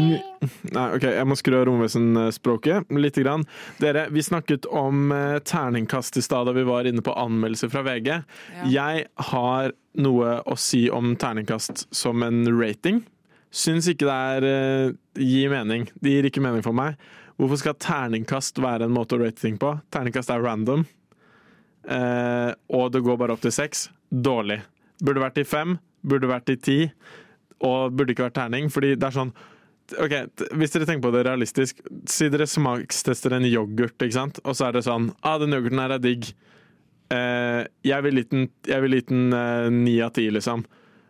Nei, ok, jeg må skru av romvesenspråket lite grann. Dere, vi snakket om eh, terningkast i stad da vi var inne på anmeldelser fra VG. Jeg har noe å si om terningkast som en rating. Syns ikke det er eh, gir mening. Det gir ikke mening for meg. Hvorfor skal terningkast være en måte å rate ting på? Terningkast er random. Eh, og det går bare opp til seks. Dårlig. Burde vært i fem, burde vært i ti, og burde ikke vært terning. Fordi det er sånn Ok, t- Hvis dere tenker på det realistisk, si dere smakstester en yoghurt, ikke sant? og så er det sånn ah, 'Den yoghurten her er digg'. Eh, jeg vil gitt den jeg vil gitt den, eh, ni av ti, liksom.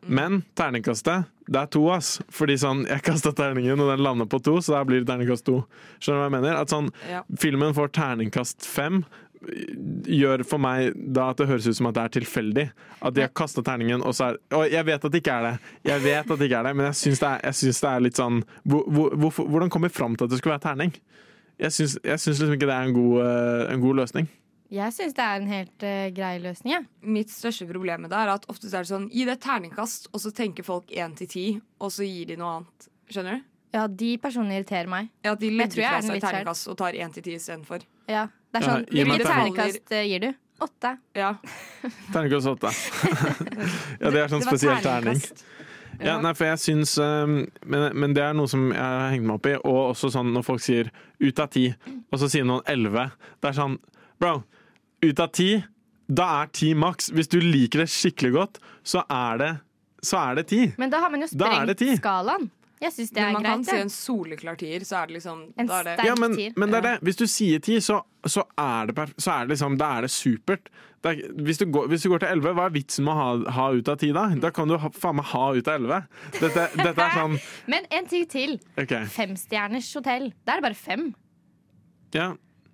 Men terningkastet, det er to, ass. Fordi sånn, jeg kasta terningen, og den landa på to, så da blir det terningkast to. Skjønner du hva jeg mener? At sånn, Ja. Filmen får terningkast fem, gjør for meg da at det høres ut som at det er tilfeldig. At de har kasta terningen, og så er Og jeg vet at det ikke er det, Jeg vet at det ikke er det men jeg syns det, er- jeg syns det er litt sånn hvor, hvor, hvorfor- Hvordan kom vi fram til at det skulle være terning? Jeg syns, jeg syns liksom ikke det er en god, eh, en god løsning. Jeg syns det er en helt eh, grei løsning, jeg. Mitt største problem med det er at ofte så er det sånn Gi det et terningkast, og så tenker folk 1 til 10, og så gir de noe annet. Skjønner du? Ja, de personene irriterer meg. Ja, at de Jeg tror legger jeg er fra den seg litt skjær. terningkast og tar 1 til 10 istedenfor. Ja, det er Ja, sånn, gi meg Hvilket terning. terningkast eh, gir du? Åtte. Ja. Terningkast åtte. ja, det er sånn Det var spesiell terning. terningkast. Ja, nei, for jeg syns um, men, men det er noe som jeg har hengt meg opp i. Og også sånn når folk sier 'ut av ti', og så sier noen 'elleve'. Det er sånn Bro, ut av ti, da er ti maks. Hvis du liker det skikkelig godt, så er det Så er det ti. Men da har man jo Da er det sprengt ti. skalaen. Jeg syns det Men er man kan greit. si ja. en soleklar tier, så er det liksom En da er det, sterk- Ja, men, tier. men det er det. Hvis du sier ti, så, så, er, det perf så er det liksom Da er det supert. Det er, hvis, du går, hvis du går til elleve, hva er vitsen med å ha, ha ut av ti da? Da kan du ha, faen meg ha ut av elleve. Dette, dette er sånn Men en ting til. OK. Femstjerners hotell. Da er det bare fem. Ja.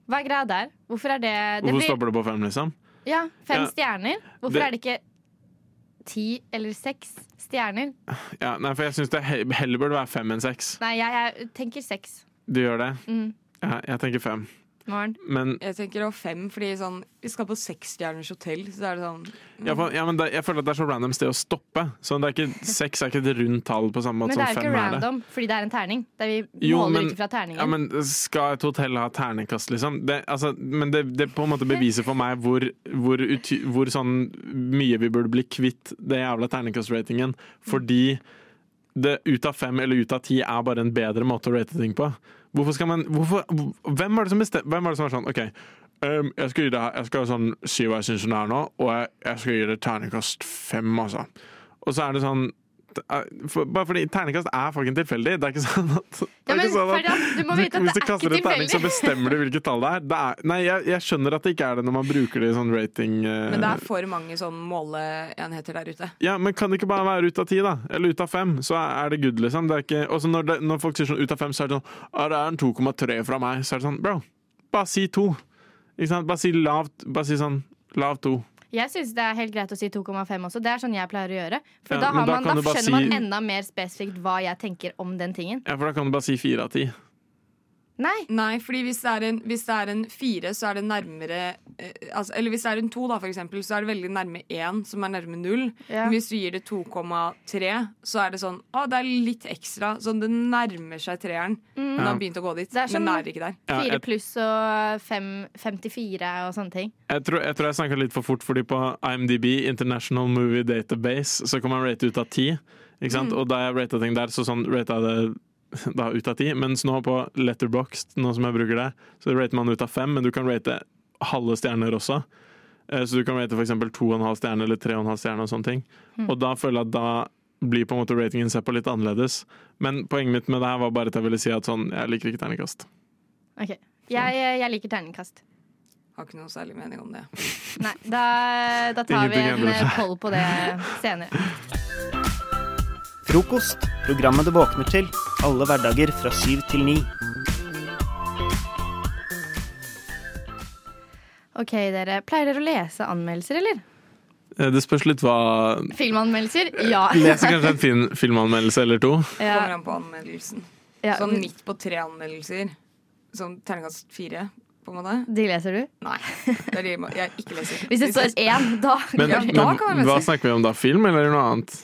Hva er greia der? Hvorfor er det, det Hvorfor stopper det på fem, liksom? Ja, fem Ja. stjerner. Hvorfor Det- er det ikke ti eller seks stjerner? Ja, nei, for jeg syns det he- heller burde være fem enn seks. Nei, jeg, jeg tenker seks. Du gjør det? Mm. Ja, jeg tenker fem. Morgen. Men, Jeg tenker å fem, fordi sånn Vi skal på seksstjerners hotell, så er det sånn ja, for, ja, men det, jeg føler at det er så random sted å stoppe. Så det er ikke, seks er ikke et rundt tall på samme Men måte det er jo som ikke fem er det. random, fordi det er en terning. Det er vi Jo, måler men- ikke fra terningen. Ja, men Skal et hotell ha terningkast, liksom? Det, altså, men det, det på en måte beviser for meg hvor, hvor, uty, hvor sånn mye vi burde bli kvitt det jævla terningkastratingen. Fordi det ut av fem eller ut av ti er bare en bedre måte å rate ting på. Hvorfor skal man hvorfor, Hvem var det som bestemte Hvem var det som var sånn OK, ehm, jeg skal gi det her Jeg skal sånn si hva jeg syns den er nå, og jeg, jeg skal gi det terningkast fem, altså. Og så er det sånn det er- for, Bare fordi terningkast er fucking tilfeldig. Det er ikke sånn at, det Ja, er men ikke sånn at Ferdian, du må du- vite at Hvis du det er kaster ikke en terning, så tilfeldig. bestemmer du hvilket tall det er. Det er nei, jeg, jeg skjønner at det ikke er det når man bruker det i sånn rating. eh, Men det er for mange sånn måleenheter der ute. Ja, men kan det ikke bare være ut av ti, da? Eller ut av fem, så er det good, liksom. Det er ikke, også når, det, når folk sier sånn ut av fem, så er det sånn Ja, det er en 2,3 fra meg. Så er det sånn, bro, bare si to. Ikke sant? Bare si lavt. Bare si sånn lav to. Jeg syns det er helt greit å si 2,5 også. Det er sånn jeg pleier å gjøre. For Ja, da, men har da man, da kan du bare skjønner si- man enda mer spesifikt hva jeg tenker om den tingen. Ja, for da kan du bare si fire av ti. Nei, Nei, fordi hvis det er en, hvis det er en fire, så er det nærmere eh, altså, Eller hvis det er en to, da, for eksempel, så er det veldig nærme én, som er nærme null. Ja. Men Hvis du gir det 2,3, så er det sånn Å, det er litt ekstra. Sånn det nærmer seg treeren. Men det har begynt å gå dit. Mm. Det er som- Men det er ikke der. Ja, 4 jeg- pluss og fem, 54 og sånne ting. Jeg tror jeg, tror jeg snakka litt for fort, fordi på IMDb, International Movie Database, så kan man rate ut av ti. Ikke sant? Og da jeg rata ting der, så sånn rata jeg det da ut av ti. Mens nå på Letterboxd, nå som jeg bruker det, så rater man ut av fem, men du kan rate halve stjerner også. Eh, Så du kan rate f.eks. to og en halv stjerne eller tre og en halv stjerne og sånne ting. Og da føler jeg at da blir på en måte ratingen sett på litt annerledes. Men poenget mitt med det her var bare at jeg ville si at sånn, jeg liker ikke terningkast. Ok, Jeg, jeg liker terningkast. Har ikke noe særlig mening om det. Nei, da, da tar vi Ingenting en endrer seg. eh, poll på det senere. Frokost. Programmet du våkner til. Alle hverdager fra syv til ni. Ok, dere. Pleier dere å lese anmeldelser, eller? Eh, Det spørs litt hva Filmanmeldelser? Ah. Ja. Leser kanskje en fin filmanmeldelse eller to. ja. Kommer an på anmeldelsen. ja. Sånn midt på tre anmeldelser. Sånn terningkast fire, på en måte. De leser du? Nei. Det er de må- jeg ikke leser. Hvis det står én, da Men, Ja, da men kan man lese. hva snakker vi om da? Film eller noe annet?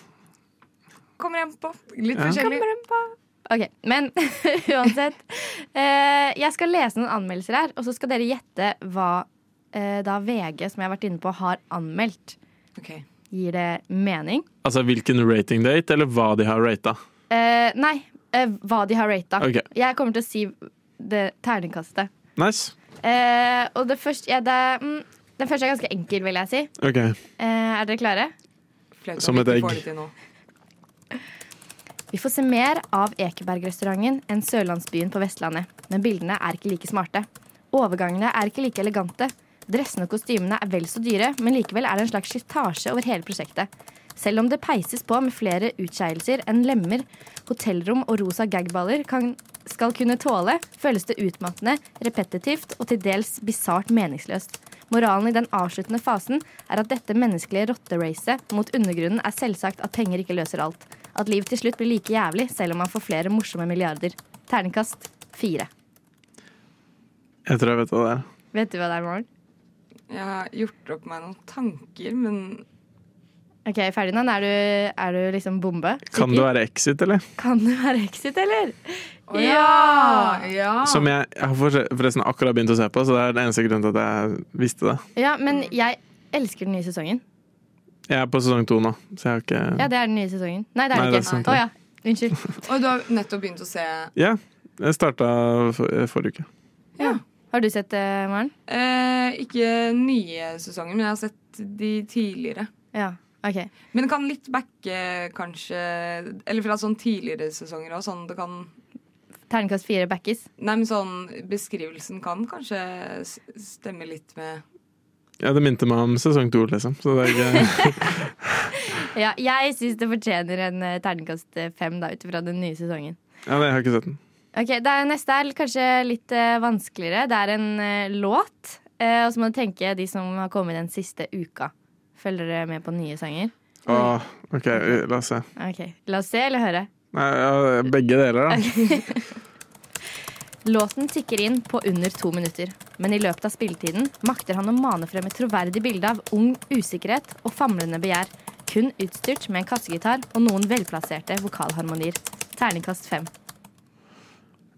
Kommer hjem på. Litt Ja. forskjellig. Ok, Men uansett. eh, jeg skal lese noen anmeldelser her, og så skal dere gjette hva eh, da VG, som jeg har vært inne på, har anmeldt. Ok. Gir det mening? Altså hvilken rating date, eller hva de har rata? Eh, nei, eh, hva de har rata. Ok. Jeg kommer til å si det terningkastet. Nice. Eh, og det første, ja, det, mm, den første er ganske enkel, vil jeg si. Ok. Eh, er dere klare? Flaut at Som vi et ikke egg. får det til nå. Vi får se mer av Ekebergrestauranten enn sørlandsbyen på Vestlandet. Men bildene er ikke like smarte. Overgangene er ikke like elegante. Dressene og kostymene er vel så dyre, men likevel er det en slags slitasje over hele prosjektet. Selv om det peises på med flere utskeielser enn lemmer, hotellrom og rosa gagballer kan, skal kunne tåle, føles det utmattende, repetitivt og til dels bisart meningsløst. Moralen i den avsluttende fasen er at dette menneskelige rotteracet mot undergrunnen er selvsagt at penger ikke løser alt. At livet til slutt blir like jævlig selv om man får flere morsomme milliarder. Terningkast fire. Jeg tror jeg vet hva det er. Vet du hva det er, Maren? Jeg har gjort opp meg noen tanker, men Ok, Ferdinand, er du, er du liksom bombe? Kan Sikker? det være Exit, eller? Kan du være Exit, eller? Å ja! ja. Som jeg, jeg har forse- forresten akkurat begynt å se på, så det er den eneste grunnen til at jeg visste det. Ja, men jeg elsker den nye sesongen. Jeg er på sesong to nå, så jeg har ikke Ja, det er den nye sesongen. Nei, det er Nei, den det er sant, ikke. det. Å ja. Unnskyld. Og du har nettopp begynt å se Ja, jeg starta for, forrige uke. Har du sett det, Maren? eh, Ikke nye sesonger, men jeg har sett de tidligere. Ja. OK. Men det kan litt backe, kanskje Eller fra sånn tidligere sesonger òg. Sånn det kan Terningkast fire backis. Nei, men sånn beskrivelsen kan kanskje s- stemme litt med Ja, Det minte meg om sesong to, liksom. Så det er ikke, Ja, jeg syns det fortjener en eh, terningkast eh, fem, da, ut ifra den nye sesongen. ja, nei, jeg har ikke sett den. Ok, det er Neste er kanskje litt eh, vanskeligere. Det er en eh, låt. Eh, og så må du tenke de som har kommet den siste uka. Følger dere med på nye sanger? Åh, OK, la oss se. Ok, La oss se eller høre. Nei, ja, begge deler, da. Låten tikker inn på under to minutter, men i løpet av spilletiden makter han å mane frem et troverdig bilde av ung usikkerhet og famlende begjær, kun utstyrt med en kassegitar og noen velplasserte vokalharmonier. Terningkast fem.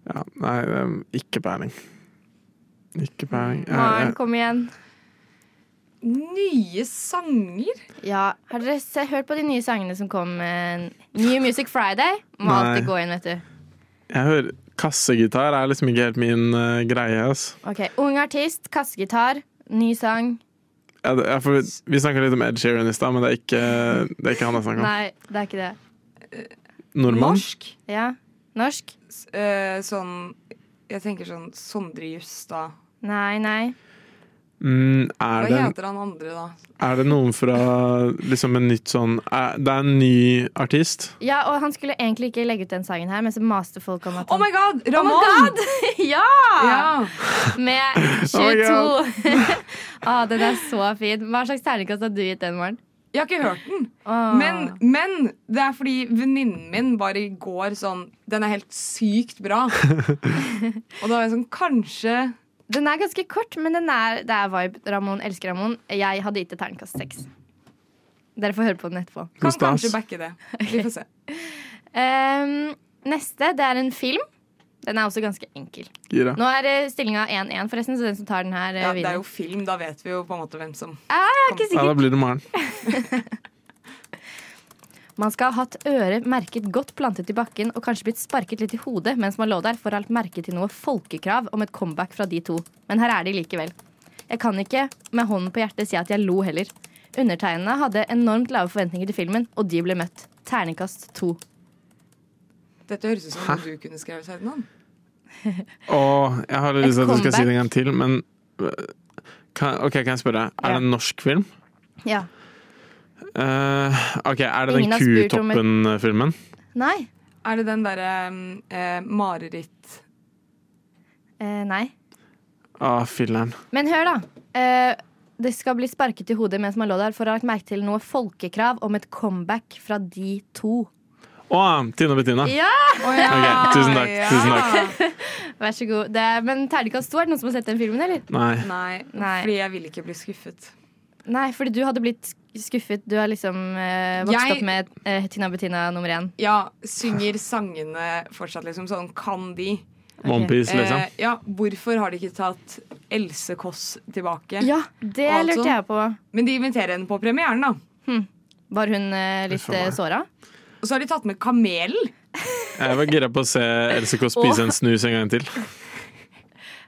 Ja, nei, det er ikke peiling. Ikke peiling. Ja, Maren, jeg, kom igjen. Nye sanger? Ja, Har dere se, hørt på de nye sangene som kom? eh, New Music Friday må Nei. alltid gå inn, vet du. jeg hører Kassegitar er liksom ikke helt min eh, greie. ass. Ok, Ung artist, kassegitar, ny sang. Ja, det- ja, for vi, vi snakka litt om Ed Sheeran i stad, men det er ikke, det er ikke han jeg snakker om. Nei, det er ikke det. Nordmann? Norsk? Ja, Norsk? S- eh, sånn Jeg tenker sånn Sondre Justad. Nei, nei. Mm, Hva er, det, heter han andre, da? er det noen fra liksom en nytt sånn er, Det er en ny artist. Ja, og Han skulle egentlig ikke legge ut den sangen her, men så maste folk om at Oh han my god! Oh my Ramón! god! ja! Ja. Med Oh my 22. God. ah, den er så fin. Hva slags terningkast har du gitt den, Maren? Jeg har ikke hørt den. Ah. Men, men det er fordi venninnen min bare i går sånn Den er helt sykt bra. Og da var jeg sånn Kanskje Den er ganske kort, men den er, det er vibe. Ramon elsker Ramon. Jeg hadde gitt det terningkast seks. Dere får høre på den etterpå. Kan Stas. kanskje backe det. Vi får se. Ehm, neste det er en film. Den er også ganske enkel. Gira. Nå er eh, stillinga 1-1, forresten, så den som tar den her, eh, Ja, det er vinner. jo film, da vet vi jo på en måte hvem som Ah, jeg er ikke Ja, sikker. da blir det Maren. Man skal ha hatt øret merket godt plantet i bakken og kanskje blitt sparket litt i hodet mens man lå der for alt merke til noe folkekrav om et comeback fra de to. Men her er de likevel. Jeg kan ikke med hånden på hjertet si at jeg lo heller. Undertegnede hadde enormt lave forventninger til filmen, og de ble møtt. Terningkast to. Dette høres ut som noe du kunne skrevet, Ferdinand. Og jeg har lyst til at du skal si det en gang til, men øh, kan, OK, kan jeg spørre? Er Ja. det en norsk film? Ja. Eh, OK, er det Ingen har den spurt om et- Kutoppen-filmen? Nei. Er det den derre um, eh, mareritt Eh, nei. Å, filleren. Men hør, da. Eh, Det skal bli sparket i hodet mens man lå der for å ha lagt merke til noe folkekrav om et comeback fra de to. Å, Tine og Bettina. Ja! Å, ja. Ok, tusen takk, tusen Vær så god. Det er, men terningkast to, er det noen som har sett den filmen, eller? Nei. Nei, Nei. fordi jeg vil ikke bli skuffet. Nei, fordi du hadde blitt skuffet. Du har liksom eh, vokst Jeg- opp med eh, Tina Bettina nummer én. Ja, synger sangene fortsatt liksom sånn? Kan de? Onepiece, Eh, liksom. ja, hvorfor har de ikke tatt Else Kåss tilbake? Ja, det Og altså- lurte jeg på. Men de inviterer henne på premieren, da. Hm. Var hun eh, litt Uff a meg. eh, såra? Og så har de tatt med Kamelen. Jeg var gira på å se Else Kåss spise en snus en gang til.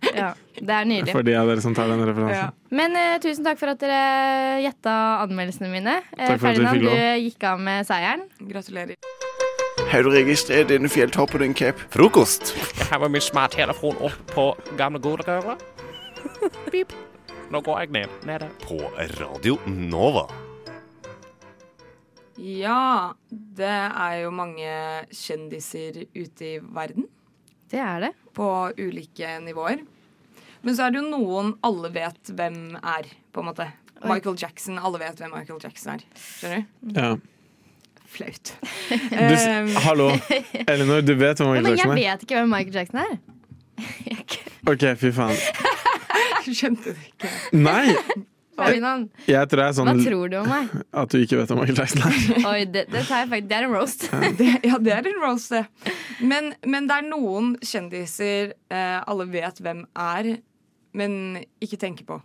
eh, Ja, det er nydelig. For de av dere som tar den referansen. Men eh, tusen takk for at dere gjetta anmeldelsene mine. Eh, Takk for at vi Ferdinand, fikk lov. du gikk av med seieren. Gratulerer. Har du registrert denne fjelltoppen din, Cap? Frokost. Jeg har med min smarttelefon opp på gamle godrøret. Pip. Nå går jeg ned. Nede. På Radio Nova. Ja, det er jo mange kjendiser ute i verden Det er det. på ulike nivåer. Men så er det jo noen alle vet hvem er, på en måte. Michael Jackson, alle vet hvem Michael Jackson er. Skjønner du? Ja. Flaut. Du, s- Um, hallo, Elinor, du vet hva Ja, Michael men jeg Jackson er? vet ikke hvem Michael Jackson er. Ok, fy faen. Skjønte du ikke? Nei, Ferdinand, jeg tror det er hva sånn tror du om meg? at du ikke vet hva Michael Jackson er. Oi, det, det, tar jeg faktisk, det er en roast. Det, ja, det er en roast, det. Men, men det er noen kjendiser eh, alle vet hvem er, men ikke tenker på.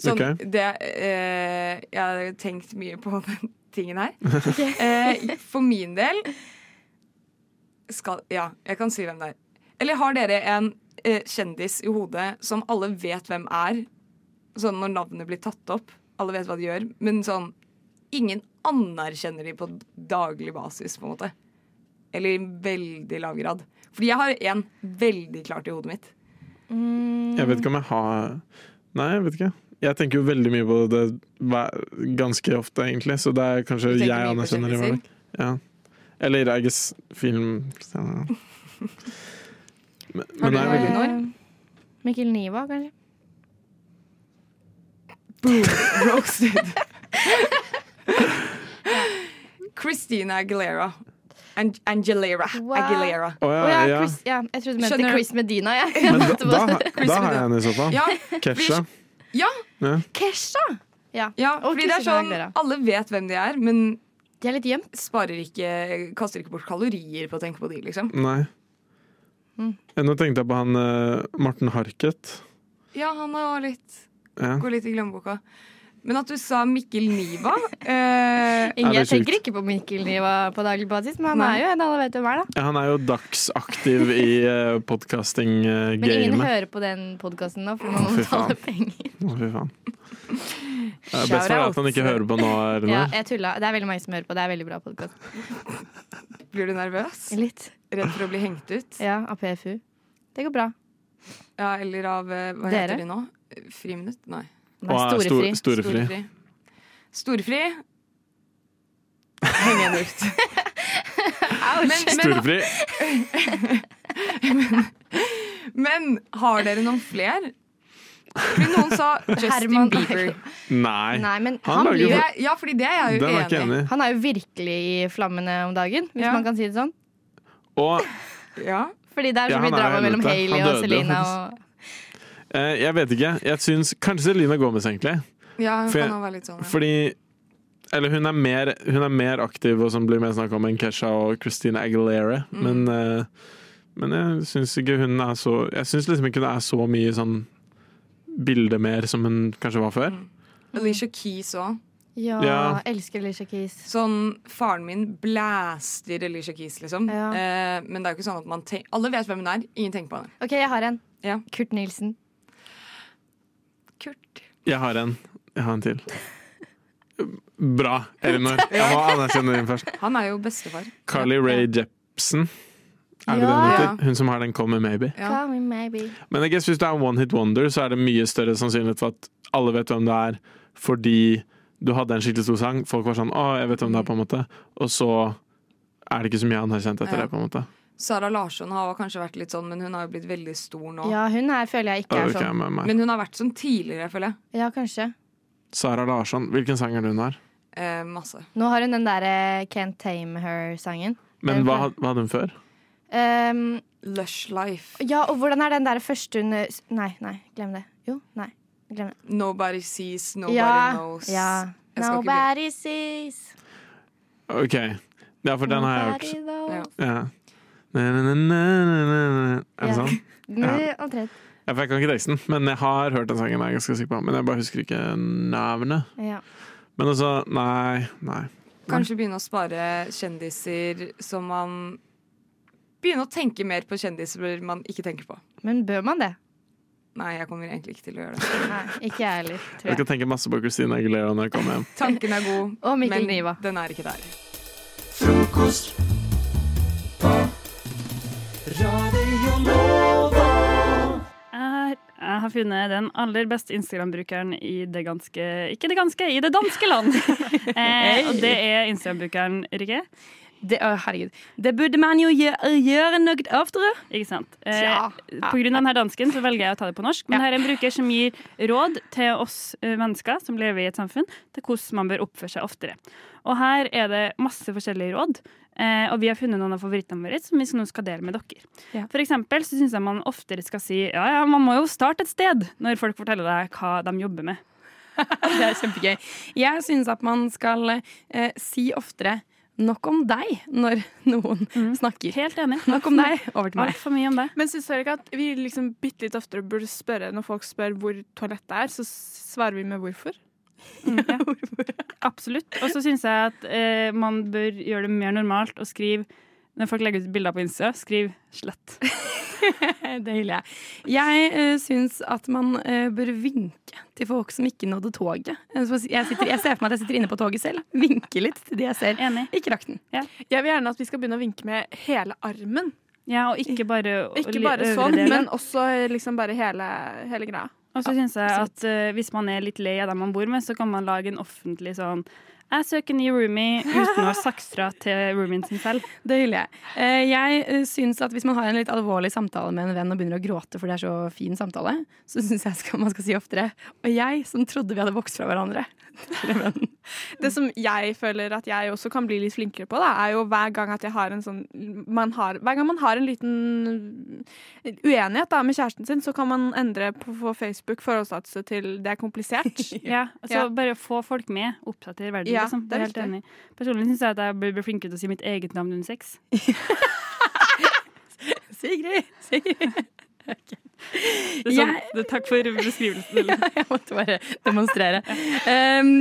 Sånn, Ok. det, eh, jeg har tenkt mye på den tingen her. Eh, for min del skal, Ja, jeg kan si hvem det er. Eller har dere en eh, kjendis i hodet som alle vet hvem er, sånn når navnet blir tatt opp? Alle vet hva de gjør, men sånn Ingen anerkjenner de på daglig basis, på en måte. Eller i veldig lav grad. Fordi jeg har en veldig klart i hodet mitt. Mm. Jeg vet ikke om jeg har Nei, jeg vet ikke. Jeg tenker jo veldig mye på det hver- ganske ofte, egentlig, så det er kanskje Du tenker mye på jeg anerkjenner i kjendiser. hverdag. Ja. Eller I guess film Men, men du noe nei, veldig, Elinor? Mikkel Niva, kanskje? Roasted. Christina Aguilera. Ang Angelera. Wow. Aguilera. Å Å ja, ja, ja. Chris, ja, jeg trodde du mente Skjønner du? Chris Medina. Jeg. sånn. Men da, Jeg da, måtte har- da har jeg henne i så fall. Ja, Kesha. ja, Kesha! Ja. ja Og fordi det er Christina sånn Aguilera. Alle vet hvem de er, men De er litt gjemt. sparer ikke, kaster ikke bort kalorier på å tenke på de, liksom. Nei. Mm. Nå tenkte jeg på han eh, Morten Harket. Ja, han har litt Ja. Går litt i glemmeboka. Men at du sa Mikkel Niva eh, Inge, det er jeg tenker sjukt. ikke på Mikkel Niva på daglig basis, men han Nei. er jo en alle vet hvem er, da. Ja, han er jo dagsaktiv i eh, uh, Men ingen podcasting-gamet. hører på den podkasten nå, for man må fy betale faen. penger. Å, fy faen. Det er best for deg at han ikke hører på nå, Ja, Elinor. jeg tulla. Det er veldig mange som hører på. Det er veldig bra podkast. Blir du nervøs? Litt. Redd for å bli hengt ut? Ja, av PFU. Det går bra. Ja, eller av eh, Hva Dere? heter de nå? Friminutt? Nei. Nei, Og er storefri. stor- storefri. Storefri. Storefri. Heng henne ut. men, men, Storefri. men har dere noen fler? Fordi noen sa Justin Herman Bieber. Nei. Nei, men Han han, lager blir jo Det, ja, fordi det er jeg Den jo er jeg enig ikke i. enig i. han er jo virkelig i flammene om dagen, hvis Ja. man kan si det sånn. Og Ja. Fordi det er så Ja, mye han er jo drama helvete. mellom Hailey Han og døde jo Selena faktisk. og eh, jeg vet ikke. Jeg syns kanskje Selena Gomez, egentlig. ja, hun For jeg- kan også være litt sånn. Ja. Fordi Eller hun er mer, hun er mer aktiv og som blir mer snakk om enn Kesha og Christina Aguilera. Mm. Men, eh, men jeg syns ikke hun er så Jeg syns liksom ikke det er så mye sånn bilde mer som hun kanskje var Mm. før. Alicia Keys òg. Ja, Ja. elsker Alicia Keys. Sånn, Faren min blæster Alicia Keys, liksom. Ja. Eh, men det er jo ikke sånn at man tenker Alle vet hvem hun er, ingen tenker på henne. OK, jeg har en. Ja. Kurt Nilsen. Kurt. Jeg har en. Jeg har en til. Bra, Elinor. Jeg må anerkjenne din først. Han er jo bestefar. Carly Rae Jepsen. Er det Ja. det hun heter? Hun som har den 'Call Me Maybe'. Ja. Call me maybe. Men jeg guess hvis du er en one hit wonder, så er det mye større sannsynlighet for at alle vet hvem det er, fordi du hadde en skikkelig stor sang. Folk var sånn 'Å, jeg vet hvem det er', på en måte. Og så er det ikke så mye han har kjent etter Ja. det, på en måte. Sara Larsson har kanskje vært litt sånn, men hun har jo blitt veldig stor nå. Ja, hun her føler jeg ikke Da er orker jeg sånn. med meg. Men hun har vært sånn tidligere, føler jeg. Ja, kanskje. Sara Larsson, hvilken sang er det hun har? Eh, masse. Nå har hun den der eh, Can't Tame Her-sangen. Men Den hva, fra- had- hva hadde hun før? Ehm, Lush Life. ja, og hvordan er den der første hun eh, Nei, nei, glem det. Jo, nei. Glem det. Nobody Sees, Nobody ja, Knows. ja. Jeg skal ikke bli- Nobody sees. OK. Ja, for den har jeg hørt. nobody knows. Ja. Ja. Na, na, na, na, na, na, na. Er det Ja. sånn? Nå, Omtrent. Ja, for jeg kan ikke teksten, men jeg har hørt den sangen. er jeg ganske sikker på Men jeg bare husker ikke navnet. Ja. Men altså, nei, nei. Kanskje begynne å spare kjendiser som man Begynne å tenke mer på kjendiser man ikke tenker på. Men bør man det? Nei, jeg kommer egentlig ikke til å gjøre det. Nei, ikke jeg heller, Jeg tror skal jeg. tenke masse på Christina Aguilera når jeg kommer hjem. Tanken er god, Og Mikkel men Niva. den er ikke der. Jeg, jeg har funnet den aller beste Instagram-brukeren i det ganske Ikke det ganske, i det danske land! eh, og det er Instagram-brukeren Rikke. Det, å, herregud. Det burde man jo gjøre, gjøre noe oftere. Ikke sant? Eh, På grunn av denne dansken så velger jeg å ta det på norsk. Men Ja. det her er en bruker som gir råd til oss eh, mennesker som lever i et samfunn, til hvordan man bør oppføre seg oftere. Og her er det masse forskjellige råd. Eh, og vi har funnet noen av favorittene våre som vi nå skal dele med dere. Ja. For eksempel så syns jeg man oftere skal si ja, ja, man må jo starte et sted, når folk forteller deg hva de jobber med. Det er kjempegøy. Jeg syns at man skal eh, si oftere 'nok om deg' når noen snakker. Mm. Helt enig. Nok om deg. Over til meg. Altfor mye om det. Men syns dere ikke at vi liksom bitte litt oftere burde spørre når folk spør hvor toalettet er, så svarer vi med hvorfor? Absolutt. Og så syns jeg at eh, man bør gjøre det mer normalt å skrive når folk legger ut bilder på Insta, skriv 'slett'. Det hyller jeg. Jeg uh, syns at man eh, bør vinke til folk som ikke nådde toget. Jeg, sitter, jeg ser for meg at jeg sitter inne på toget selv. Vinker litt til de jeg ser. Enig. Ikke rakk den. Jeg vil gjerne at vi skal begynne å vinke med hele armen. Ja, og ikke bare Ikke bare sånn, men også liksom bare hele, hele greia. Og så syns jeg at eh, hvis man er litt lei av dem man bor med, så kan man lage en offentlig sånn 'Jeg søker ny roomie', uten å ha sagt fra til roomien sin selv. Det hyller jeg. Eh, jeg uh, syns at hvis man har en litt alvorlig samtale med en venn og begynner å gråte fordi det er så fin samtale, så syns jeg skal, man skal si oftere 'og jeg som trodde vi hadde vokst fra hverandre'. til en venn. Det som jeg føler at jeg også kan bli litt flinkere på, da, er jo hver gang at jeg har en sånn man har, Hver gang man har en liten uenighet da, med kjæresten sin, så kan man endre på, på Facebook forholdsstatus til det er komplisert. Ja, altså Ja. Bare få folk med. Oppdater verden. Ja, liksom. det er Helt viktig. enig. Personlig syns jeg at jeg bør bli flinkere til å si mitt eget navn under sex. Sigrid! Sigrid! Det er sånn, Jeg- det, takk for beskrivelsen. Eller? Ja, jeg måtte bare demonstrere. Um,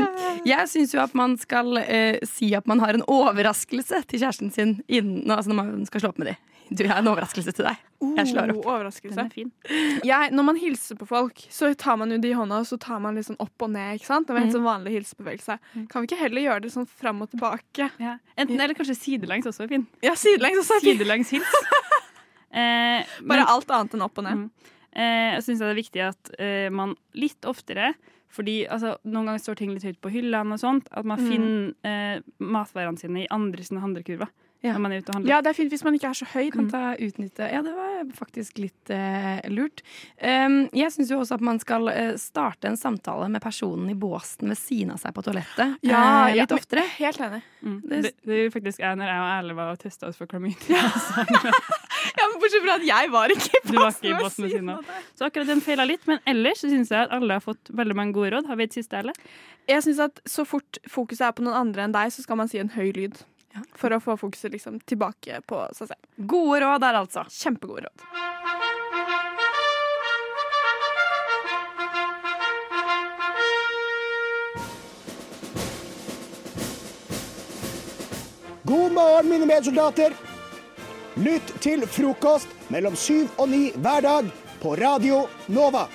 jeg syns jo at man skal eh, si at man har en overraskelse til kjæresten sin innen, nå, altså når man skal slå opp med dem. Du, jeg har en overraskelse til deg. Jeg slår opp. Oh, overraskelse. Den er fin. jeg, når man hilser på folk, så tar man jo de i hånda, og så tar man litt sånn opp og ned. ikke sant? Det var Mm. en sånn vanlig hilsebevegelse. Kan vi ikke heller gjøre det sånn fram og tilbake? Ja. Enten, eller kanskje sidelengs også er fin. Ja, sidelengs også. er fint. Sidelengs hils. Eh, men Bare alt annet enn opp og ned. Mm. eh, jeg syns det er viktig at eh, man litt oftere fordi altså, Noen ganger står ting litt høyt på hyllene, og sånt, at Mm. man finner eh, matvarene sine i andre sine handlekurver. Oh, Ja. Når man er ute og handler. Ja, det er fint hvis man ikke er så høy. Kan ta utnytte Ja, det var faktisk litt eh, lurt. Um, jeg syns jo også at man skal eh, starte en samtale med personen i båsen ved siden av seg på toalettet. eh, litt men- oftere. Helt enig. Mm. det- Det, det gjorde faktisk jeg når jeg og Erle var og testa oss for klamydia. Ja, men Bortsett fra at jeg var ikke Du var ikke i båsen ved siden av. Så akkurat den feila litt, men ellers så syns jeg at alle har fått veldig mange gode råd. Har vi et siste, Erle? Jeg syns at så fort fokuset er på noen andre enn deg, så skal man si en høy lyd. For å få fokuset liksom tilbake på seg selv. Gode råd der, altså. Kjempegode råd. God morgen, mine medsoldater. Lytt til frokost mellom syv og ni hver dag på Radio Nova.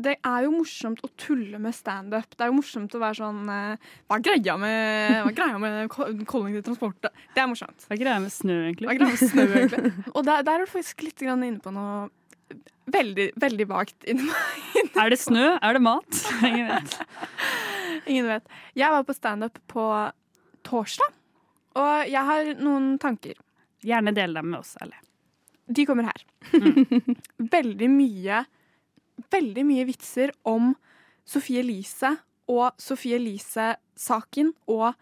det er jo morsomt å tulle med standup. Det er jo morsomt å være sånn eh, Hva er greia med, hva er greia med ko- kollektiv transport? da? Det er morsomt. Hva er greia med snø, Hva egentlig? er greia med snø, egentlig? Og der, der er du faktisk litt grann inne på noe veldig, veldig vagt. Ingen Er det snø? Er det mat? Ingen vet. ingen vet. Jeg var på standup på torsdag, og jeg har noen tanker. Gjerne del dem med oss Mm. alle. De kommer her. veldig mye Veldig mye vitser om Sofie Elise og Sofie Elise-saken og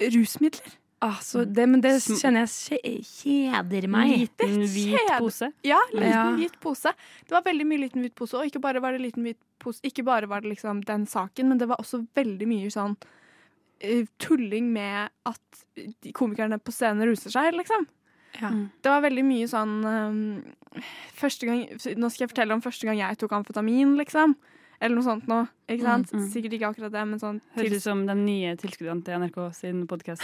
rusmidler. Altså, Mm. det, men det kjenner jeg kje- kjeder meg. Liten, hvit Kjede- pose. Ja, liten Ja. hvit pose. Det var veldig mye liten hvit pose, og ikke bare var det liten hvit pose, ikke bare var det liksom den saken, men det var også veldig mye sånn eh, tulling med at de komikerne på scenen ruser seg, liksom. Mm. Det var veldig mye sånn eh, første gang, Nå skal jeg fortelle om første gang jeg tok amfetamin, liksom. Eller noe sånt nå. Ikke sant? Mm, mm. Sikkert ikke akkurat det, men sånn Høres ut som de nye tilskuddene til NRK sin podkast.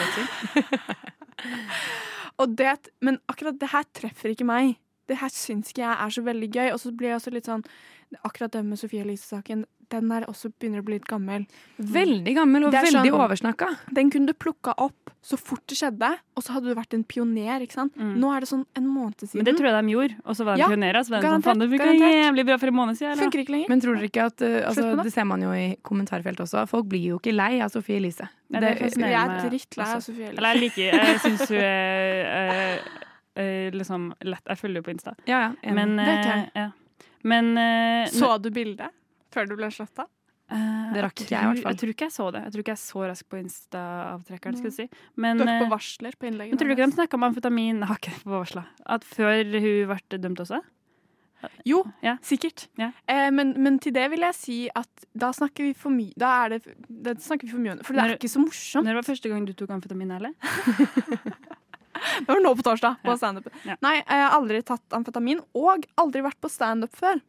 Og det, men akkurat det her treffer ikke meg. Det her syns ikke jeg er så veldig gøy. Og så blir jeg også litt sånn Akkurat det med Sofie Elise-saken, den er også begynner å bli litt gammel. Mm. Veldig gammel og Det er sånn- veldig oversnakka. Den kunne du plukka opp så fort det skjedde, og så hadde du vært en pioner, ikke sant. Nå er det sånn en måned siden. Mm. Men det tror jeg de gjorde, og så var de Ja, pionerer. Så var de sånn, garantert, faen, det funka garantert. jævlig bra for en måned siden. eller? Funker ikke lenger. Men tror dere ikke at uh, altså, Slutt på det. Det ser man jo i kommentarfeltet også. Folk blir jo ikke lei av Sofie Elise. Nei, det fascinerer jeg er meg drittlei av også. Sophie Elise. Eller jeg liker Jeg syns hun er eh, eh, liksom lett Jeg følger henne på Insta. Ja, ja, enig. Men, Det er ikke jeg. eh, ja. Men eh, Så du bildet før du ble sletta? Eh, Det rakk ikke jeg i tror- hvert fall. Jeg tror ikke jeg så det. Jeg tror ikke jeg så rask på Insta-avtrekkeren. skal jeg si. Men, Mm. Du var ikke eh, på varsler på innlegget? men tror du ikke de snakka om amfetamin Jeg har ikke på varsla. At før hun ble dømt også? Jo, Ja. sikkert. Ja. Eh, men, men til det vil jeg si at da snakker vi for mye Da er det, da snakker vi for mye om det. For det Når- er ikke så morsomt. Når var første gang du tok amfetamin, eller? Det var nå på torsdag. På Ja. standup. Ja. Nei, jeg har aldri tatt amfetamin, og aldri vært på standup før.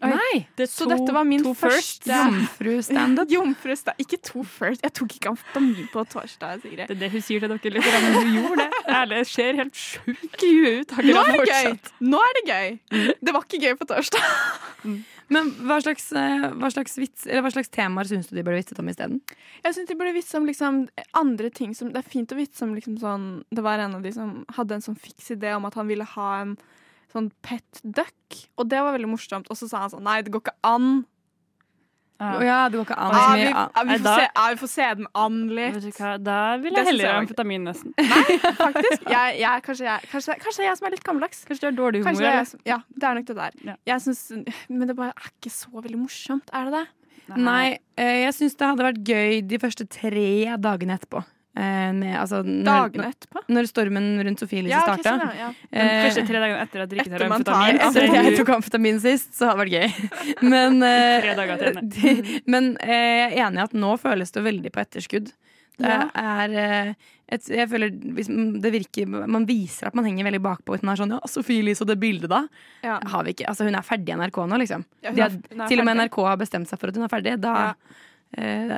Nei! Det er Så to- dette var min to firsts. første Jomfru-standup. Jomfru sta- Ikke to first. Jeg tok ikke amfetamin på torsdag. Sigrid. Det er det hun sier til dere. lyttere, men hun gjorde det. Ærlig, det ser helt sjuk i huet ut. Nå akkurat er det gøy! fortsatt. Mm. Nå er det gøy! Det var ikke gøy på torsdag. Men hva slags, eh, hva slags, vits, eller hva slags temaer syns du de burde vitset om isteden? Jeg synes de burde vitse om liksom, andre ting som Det er fint å vitse om liksom, sånn Det var en av de som hadde en sånn fiks idé om at han ville ha en sånn pet duck, og det var veldig morsomt. Og så sa han sånn Nei, det går ikke an. Ja. Å ja, det går ikke an Ah, så vi, mye an. ah, vi, Nei, får da- se, ah, vi får se den an litt. Vet du hva, Da vil Det jeg synes jeg heller ha var gøy. amfetamin, nesten. Faktisk. Jeg, jeg, kanskje, jeg, kanskje, kanskje jeg som er litt gammeldags. Kanskje du har dårlig humor? Kanskje det er eller? jeg som, ja, det er nok det der. Ja. Jeg synes, men det bare er ikke så veldig morsomt, er det det? Nei, eh, jeg syns det hadde vært gøy de første tre dagene etterpå. Eh, Med, altså, Dagene når, etterpå? når stormen rundt Eh, Sofie Elise Ja, ok, starta. sånn, ja, ja. De første tre dagene Eh, etter at dere ikke tar Etter man tar amfetamin. Etter at så er Altså, jeg du- tok amfetamin sist, så har det vært gøy. Men, eh, Tre dager til ende. de, men eh, jeg er enig i at nå føles det veldig på etterskudd. Det Ja. er eh, et, Jeg føler hvis m- det virker Man viser at man henger veldig bakpå. Hvis man er sånn, ja, Sofie Elise og det bildet, da. Ja. Har vi ikke, altså, hun er ferdig i NRK nå, liksom. Ja, hun De er- har, hun er til og med ferdig. NRK har bestemt seg for at hun er ferdig. Da eh,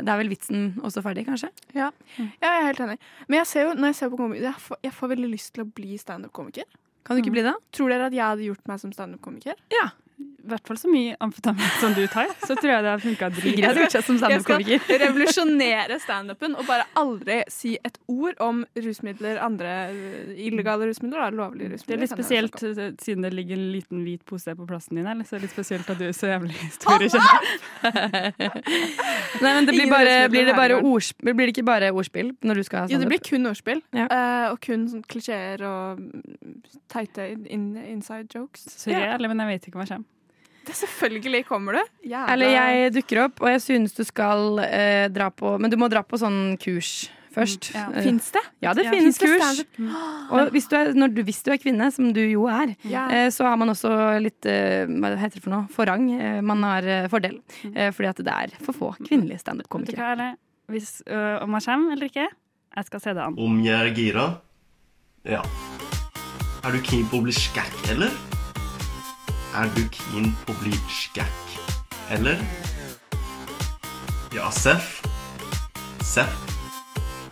Det er vel vitsen også ferdig, kanskje? Ja. ja, jeg er helt enig. Men jeg ser jo, når jeg ser på komikere, jeg får, jeg får veldig lyst til å bli standup-komiker. Kan du ikke bli det? Tror dere at jeg hadde gjort meg som standup-komiker? Ja. I hvert fall så mye amfetamin som du tar, så tror jeg det har funka Jeg dritbra. hadde gjort seg som Jeg skal standup-komiker. revolusjonere standupen og bare aldri si et ord om rusmidler, andre øh, illegale rusmidler, da, lovlige Det er litt rusmidler. Sånn kan jeg vel spesielt snakke om. eh, siden det ligger en liten hvit pose på plassen din her. Så er det litt spesielt at du er så jævlig historiekjent. Nei, men det blir, Ingen bare, rettsmidler blir, her det i bare verden. ordsp- blir det ikke bare ordspill når du skal ha sånn- Ja, det standup? blir kun ordspill, Ja. eh, og kun sånn klisjeer og mm, teite in, inside jokes. Sorry, ærlig, men jeg vet ikke hva som kommer. Det selvfølgelig kommer du. Jævla- Eller jeg dukker opp, og jeg synes du skal eh, dra på Men du må dra på sånn kurs først. Mm, ja. Eh, Fins det? ja, det Ja. Finnes finnes det kurs. Mm. standup? Og hvis du, er, når du, hvis du er kvinne, som du jo er, Ja. eh, så har man også litt eh, Hva heter det for noe? Forrang. Eh, man har eh, fordel. Eh, fordi at det er for få kvinnelige Vet du standup-komikere. hva, ærlig? Hvis, øh, om jeg kommer eller ikke, jeg skal se det an. Om jeg er gira? Ja. Er du keen på å bli skækk, eller? Er du keen på å bli skækk, eller? Ja, Seff. Seff.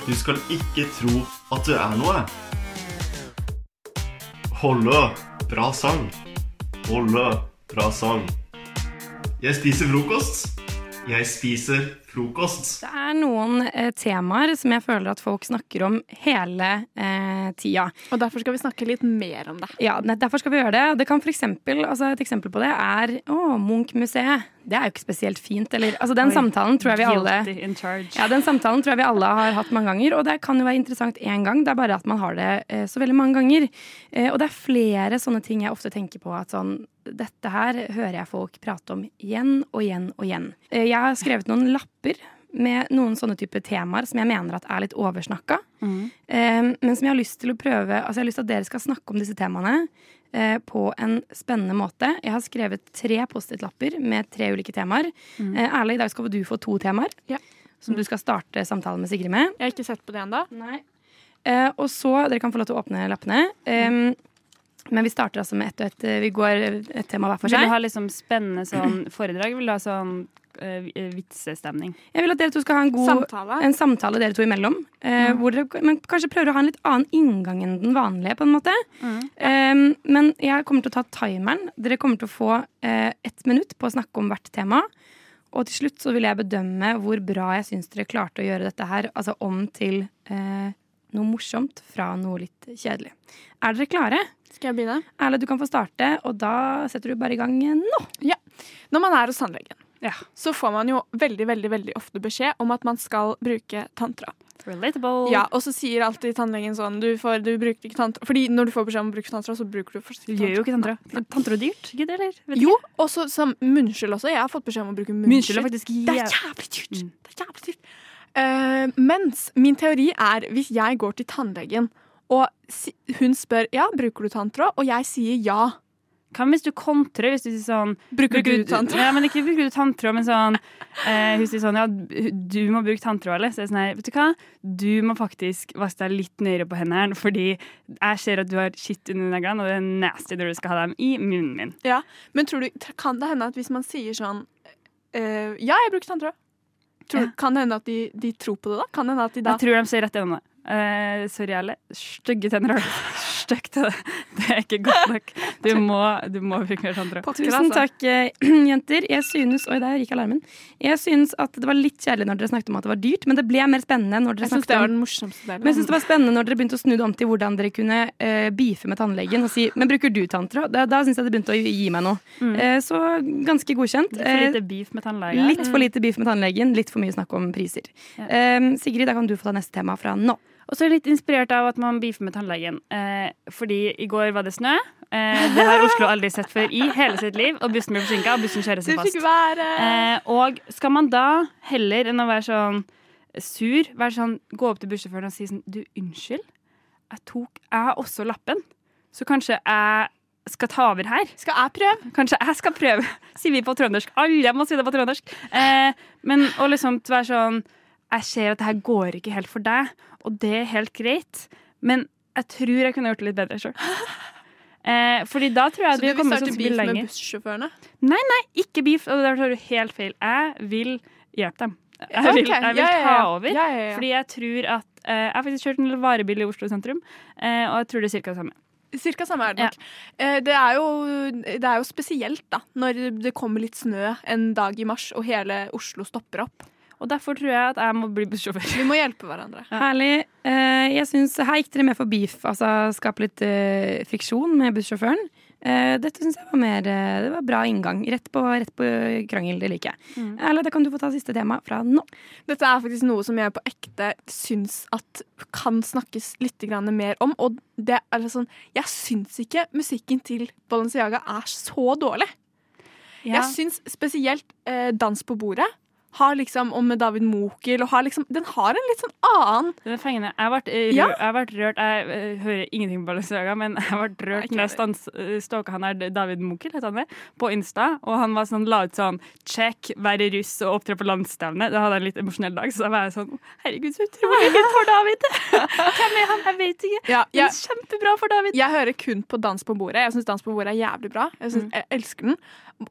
Du skal ikke tro at du er noe. Hollø, bra sang. Hollø, bra sang. Jeg spiser frokost. Jeg spiser frokost. Det er noen eh, temaer som jeg føler at folk snakker om hele eh, tida. Og derfor skal vi snakke litt mer om det. Ja, ne- derfor skal vi gjøre det. Det kan for eksempel, altså Et eksempel på det er å, Munch-museet. Det er jo ikke spesielt fint. Eller, altså Den Oi. samtalen tror jeg vi alle Guilty in charge. ja, Den samtalen tror jeg vi alle har hatt mange ganger, og det kan jo være interessant én gang. Det er bare at man har det eh, så veldig mange ganger. Eh, og det er flere sånne ting jeg ofte tenker på at sånn Dette her hører jeg folk prate om igjen og igjen og igjen. Eh, jeg har skrevet noen lapper med noen sånne type temaer som jeg mener at er litt oversnakka. Mhm. Eh, men som jeg har lyst til å prøve Altså jeg har lyst til at dere skal snakke om disse temaene eh, på en spennende måte. Jeg har skrevet tre Post-It-lapper med tre ulike temaer. Mm. Eh, Erle, i dag skal du få to temaer. Som du skal starte samtalen med Sigrid med. Jeg har ikke sett på det ennå. Eh, og så, Dere kan få lov til å åpne lappene. Ehm, men vi starter altså med ett og ett. eh, Vi går et tema hver for Vil seg. du ha liksom spennende sånn foredrag? Vil du ha sånn eh, vitsestemning? Jeg vil at dere to skal ha en god Samtale. En samtale dere to imellom. eh, Mm. Ja. hvor dere, men kanskje prøver å ha en litt annen inngang enn den vanlige. på en måte. Mm. Ehm, men jeg kommer til å ta timeren. Dere kommer til å få eh, ett minutt på å snakke om hvert tema. Og til slutt så vil jeg bedømme hvor bra jeg syns dere klarte å gjøre dette her altså om til eh, noe morsomt fra noe litt kjedelig. Er dere klare? Skal jeg begynne? Erle, du kan få starte, og da setter du bare i gang nå. Ja. Når man er hos tannlegen, så får man jo veldig, veldig, veldig ofte beskjed om at man skal bruke tantra. Relatable. Ja, og så sier alltid tannlegen sånn du, får, du bruker ikke tantra Fordi når du får beskjed om å bruke tantra, så bruker du først Du gjør jo ikke tantra. Tantra er dyrt, gidder eller? Vet Jo, og så som munnskyld også. Jeg har fått beskjed om å bruke Munnskyld munnskyld. er faktisk Mm. Det er jævlig dyrt! Det er jævlig dyrt. Eh, mens min teori er hvis jeg går til tannlegen, og si, hun spør ja, bruker du tanntråd, og jeg sier ja. Hva hvis du kontrer? Hvis du sier sånn Bruker, du tanntråd? Ja, men ikke bruker du tanntråd, men sånn eh, Hun sier sånn ja, du må bruke tanntråd, eller? Så jeg er sånn her, vet du hva? Du må faktisk vaske deg litt nøyere på hendene, fordi jeg ser at du har skitt under neglene, og det er nasty når du skal ha dem i munnen min. Ja, Men tror du, kan det hende at hvis man sier sånn eh, Ja, jeg bruker tanntråd. Tror, Kan det hende at de, de tror på det, da? Kan det hende at de da Jeg tror de ser rett gjennom det. Eh, sorry, alle. Stygge tenner har du. Stygt til det. Det er ikke godt nok. Du må, du må bruke mer tanntråd. Tusen takk, eh, jenter. Jeg synes, oi, der gikk alarmen. Jeg synes at det var litt kjedelig når dere snakket om at det var dyrt, men det ble mer spennende når dere Jeg syns snakket det var om den morsomste delen. men jeg synes det var spennende når dere begynte å snu det om til hvordan dere kunne eh, beefe med tannlegen og si Men bruker du tanntråd? Da, da syns jeg det begynte å gi meg noe. Mm. Eh, så ganske godkjent. Litt for Eh, lite beef med tannlegen. litt Mm. for lite beef med tannlegen, litt for mye snakk om priser. Ja. Eh, Sigrid, da kan du få ta neste tema fra nå. Og så er jeg litt inspirert av at man beefer med tannlegen. Eh, fordi i går var det snø. Eh, det har Oslo aldri sett før i hele sitt liv. Og bussen ble forsinka, og bussen kjører Du seg fast. fikk være Eh, og skal man da heller enn å være sånn sur, være sånn, gå opp til bussjåføren og si sånn Du, unnskyld, jeg tok Jeg har også lappen, så kanskje jeg skal ta over her. Skal jeg prøve? Kanskje jeg skal prøve, sier vi på trøndersk. Alle må si det på trøndersk. Eh, men å liksom være sånn Jeg ser at det her går ikke helt for deg, og det er helt greit, men jeg tror jeg kunne gjort det litt bedre sjøl. Eh, fordi da tror jeg at Så du vi vil kommer starte til å beef spille med sånn lenger. bussjåførene? Nei, nei, ikke beef. Og der tar du helt feil. Jeg vil hjelpe dem. Jeg vil, Ok, jeg vil ja, ja, ja. ta over. Ja, ja, ja. Fordi jeg tror at eh, Jeg har faktisk kjørt en varebil i Oslo sentrum, eh, og jeg tror det er ca. det samme. Cirka samme er det nok. Eh, Det, er jo, det er jo spesielt da, når det kommer litt snø en dag i mars, og hele Oslo stopper opp. Og derfor tror jeg at jeg må bli bussjåfør. Vi må hjelpe hverandre. Herlig. Eh, jeg synes, Her gikk dere med for beef, altså skape litt eh, friksjon med bussjåføren. Eh, dette syns jeg var mer eh, Det var bra inngang. Rett på, rett på krangel. Det liker jeg. Mm. Erle, da kan du få ta siste tema fra nå. Dette er faktisk noe som jeg på ekte syns at kan snakkes litt grann mer om. Og det er sånn, jeg syns ikke musikken til Balenciaga er så dårlig. Ja. Jeg syns spesielt eh, Dans på bordet har liksom, og med David Mokel og har liksom, Den har en litt sånn annen Den er fengende. Jeg ble, eh, rø- Ja. jeg ble rørt Jeg eh, hører ingenting på Balenciaga, men jeg ble rørt når jeg stans- eh, stalka han der David Mokel, het han det, på Insta. Og han var sånn, la ut sånn 'check, være russ og opptre på landsstevne'. Da hadde jeg en litt emosjonell dag, så da var jeg sånn Herregud, så utrolig fint for David! Hvem er han? Jeg vet ikke. Ja, Men jeg, kjempebra for David. Jeg hører kun på Dans på bordet. Jeg syns Dans på bordet er jævlig bra. Jeg, Mm. synes, jeg elsker den.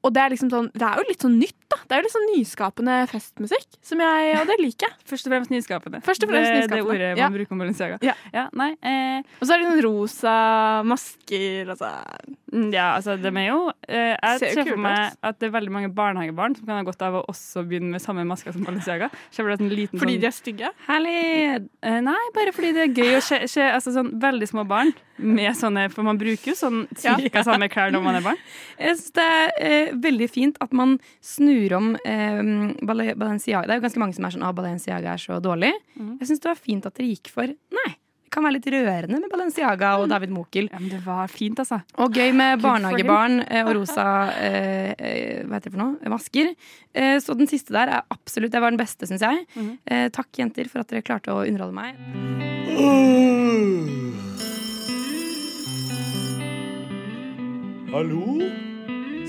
Og det er, liksom sånn, det er jo litt sånn nytt, da. Det er jo litt sånn nyskapende festmusikk, som jeg, og det liker jeg. Først og fremst nyskapende. Først og fremst det, nyskapende. Det ordet man Ja. bruker om Balenciaga. Ja. nei, eh, Og så er det sånn rosa masker og så Mm, Ja, altså de er jo eh, Ser Jeg jo ser for kule meg at det er veldig mange barnehagebarn som kan ha godt av å også begynne med samme masker som Balenciaga. Ser for deg en liten sånn, Fordi de er stygge? Herlig! Eh, Nei, bare fordi det er gøy å se, se altså, sånn, veldig små barn med sånne For man bruker jo sånn cirka samme klær når man er barn. Jeg synes det er eh, veldig fint at man snur om eh, Bale- Balenciaga. Det er jo ganske mange som er sånn at Balenciaga er så dårlig. Mm. Jeg syns det var fint at dere gikk for Nei, det kan være litt rørende med Balenciaga og David Mokel. Mm. det var fint, altså. Og gøy med Good for him. barnehagebarn eh, og rosa eh, eh, hva heter det for noe? masker. Eh, så den siste der er absolutt Det var den beste, syns jeg. Eh, takk, jenter, for at dere klarte å underholde meg. Hallo?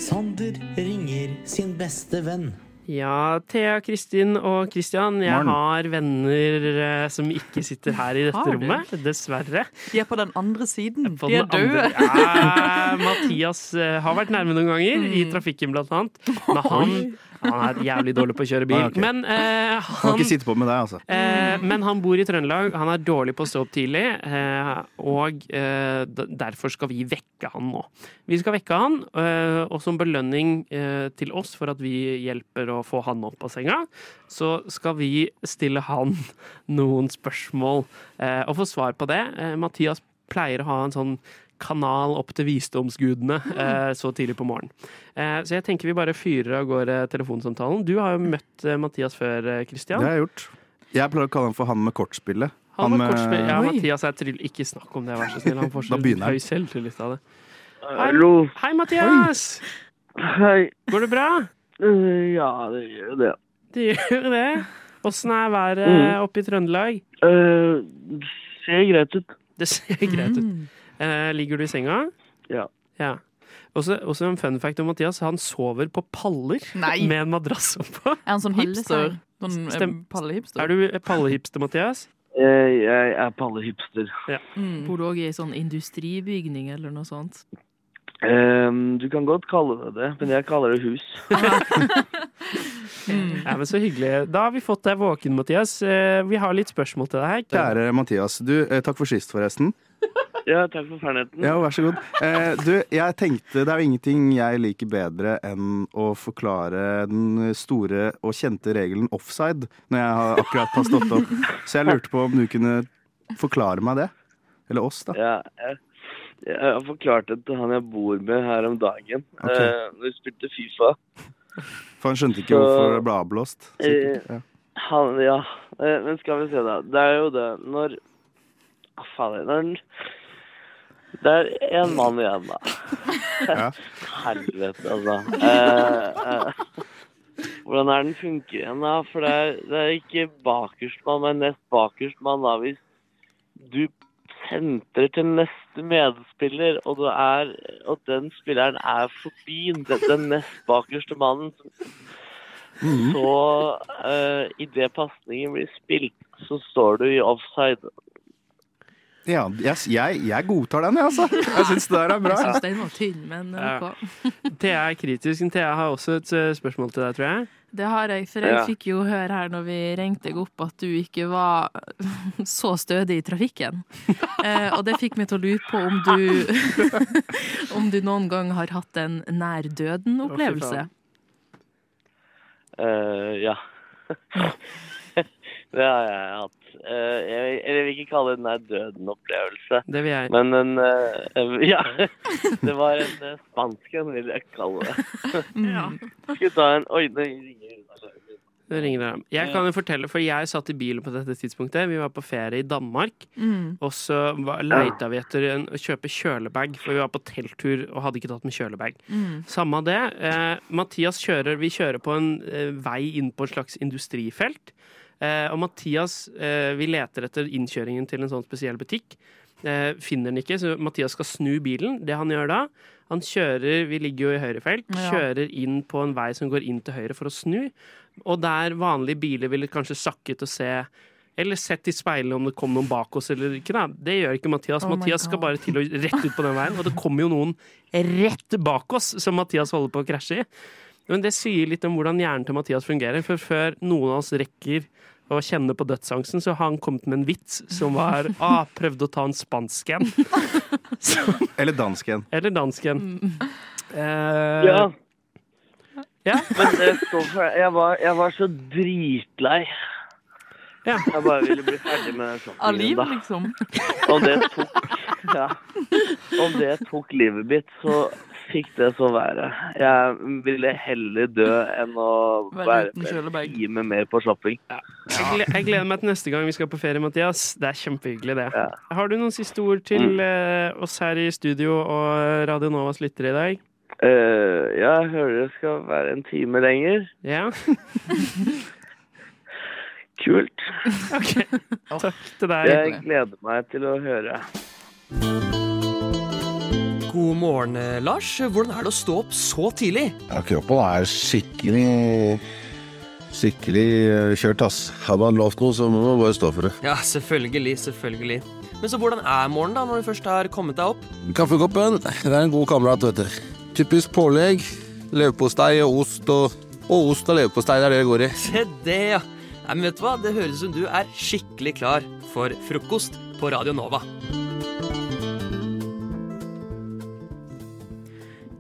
Sander ringer sin beste venn. Ja, Thea, Kristin og Kristian, jeg Morgen. har venner eh, som ikke sitter her i dette Har du? rommet, dessverre. De er på den andre siden. På de er den andre- døde. Ja, Mathias eh, har vært nærme noen ganger, i Mm. trafikken blant annet. Men han, han Ah, er jævlig dårlig på å kjøre bil. Ah, ok. Men eh, Kan han ikke sitte på med deg, altså. Eh, men han bor i Trøndelag, han er dårlig på å stå opp tidlig, eh, og eh, d- derfor skal vi vekke han nå. Vi skal vekke han, eh, og som belønning eh, til oss for at vi hjelper å få han opp av senga, så skal vi stille han noen spørsmål eh, og få svar på det. Eh, Mathias pleier å ha en sånn kanal opp til visdomsgudene eh, så tidlig på morgenen. Eh, så jeg tenker vi bare fyrer av gårde telefonsamtalen. Du har jo møtt eh, Mathias før, eh, Det Christian. har jeg gjort. Jeg pleier å kalle han for han med kortspillet. Han med med- kortspill. Ja, Mathias er tryll. Ikke snakk om det, vær så snill. Han får så Da begynner han. høy selvtillit av det. Eh, Hallo. Hei, Mathias! Hei. Eh, Går det bra? Ja, det gjør det. Det gjør det. Åssen er været Mm. oppe i Trøndelag? Eh, ser greit ut. Det ser greit ut. Eh, ligger du i senga? Ja. ja. Også, også en fun fact om Mathias. Han sover på paller Nei. med en madrass oppå. Er han sånn hipster? Mm, Sånn eh, Stem- pallehipster? Er du pallehipster, Mathias? Eh, Jeg er pallehipster. Ja. Mm. Bor du òg i sånn industribygning eller noe sånt? Eh, du kan godt kalle det det, men jeg kaller det hus. Ja, men Så hyggelig. Da har vi fått deg våken, Mathias. Eh, Vi har litt spørsmål til deg. her. Kjære Mathias, du, eh, takk for sist, forresten. Ja, takk for ferdigheten. Ja, vær så god. Eh, du, jeg tenkte det er jo ingenting jeg liker bedre enn å forklare den store og kjente regelen offside når jeg har akkurat har stått opp. Så jeg lurte på om du kunne forklare meg det. Eller oss, da. Ja, jeg, jeg har forklart det til han jeg bor med her om dagen. Ok. Eh, når vi spilte Fifa. For han skjønte ikke hvorfor det ble avblåst. sikkert. Eh, Ja. Han, ja. Eh, Men skal vi se, da. Det er jo det når Å, Fader. Når Det er én mann igjen, da. Helvete, altså. Eh, eh, hvordan er den funker igjen, da? For det er, det er ikke bakerstmann, men nest bakerstmann, da. Hvis du sentrer til neste medspiller, og, du er, og den spilleren er forbi den, den nest bakerste mannen, så uh, idet pasningen blir spilt, så står du i offside. Ja, jeg, jeg, jeg godtar den, jeg, altså. Jeg syns det der er bra. Jeg syns den var tynn, men Ja. OK. Thea er kritisk. Thea har også et eh, spørsmål til deg, tror jeg. Det har jeg, for jeg Ja. fikk jo høre her når vi ringte deg opp at du ikke var så stødig i trafikken. Eh, og det fikk meg til å lure på om du om du noen gang har hatt en nær døden-opplevelse. Eh, ja. det har jeg hatt. Eh, jeg, jeg vil ikke kalle det en døden-opplevelse. Det vil jeg. Men en eh, eh, Ja. Det var en eh, spansk en, vil jeg kalle det. Ja. Skal vi ta en Oi, det ringer. Nå ringer det. Jeg kan jo fortelle, for jeg satt i bilen på dette tidspunktet. Vi var på ferie i Danmark. Mm. Og så var- leita vi etter en, å kjøpe kjølebag, for vi var på telttur og hadde ikke tatt med kjølebag. Mm. Samme av det. Eh, Mathias kjører, vi kjører på en eh, vei inn på et slags industrifelt. Eh, og Mathias, eh, vi leter etter innkjøringen til en sånn spesiell butikk. Eh, finner den ikke, så Mathias skal snu bilen. Det han gjør da, han kjører, vi ligger jo i høyrefelt, Ja. kjører inn på en vei som går inn til høyre for å snu. Og der vanlige biler ville kanskje sakket og se eller sett i speilet om det kom noen bak oss eller ikke. Da. Det gjør ikke Mathias. Oh my Mathias skal God. bare til og rett ut på den veien, og det kommer jo noen rett bak oss som Mathias holder på å krasje i. Men det sier litt om hvordan hjernen til Mathias fungerer, for før noen av oss rekker og kjenne på dødsangsten, så har han kommet med en vits som var ah, prøvde å ta en spansk en. Eller dansken. Eller dansken. Mm. Eh, Ja. Men det står for Jeg var, jeg var så dritlei. Jeg bare ville bli ferdig med den Av shoppingen, liv, da. liksom. Om det tok ja. Om det tok livet mitt, så fikk det så være. Jeg ville heller dø enn å Være være uten en time mer på shopping. Jeg, gle jeg gleder meg til neste gang vi skal på ferie, Mathias. Det er kjempehyggelig, det. Har du noen siste ord til eh, oss her i studio og eh, Radio Novas lyttere i dag? Eh, ja, jeg hører det skal være en time lenger. Ja. Kult. Takk til deg. Jeg gleder meg til å høre. God morgen, eh, Lars. Hvordan er det å stå opp så tidlig? Ja, kroppen er skikkelig Skikkelig eh, kjørt, ass. Har man lovt noe, så må man bare stå for det. Ja, selvfølgelig, selvfølgelig. Men så hvordan er morgenen da, når du først har kommet deg opp? Kaffekoppen, det er en god kamerat, vet du. Typisk pålegg. Leverpostei og ost og Og ost og leverpostei, det er det det går i. Se det, ja. Nei, men vet du hva? Det høres ut som du er skikkelig klar for frokost på Radio Nova.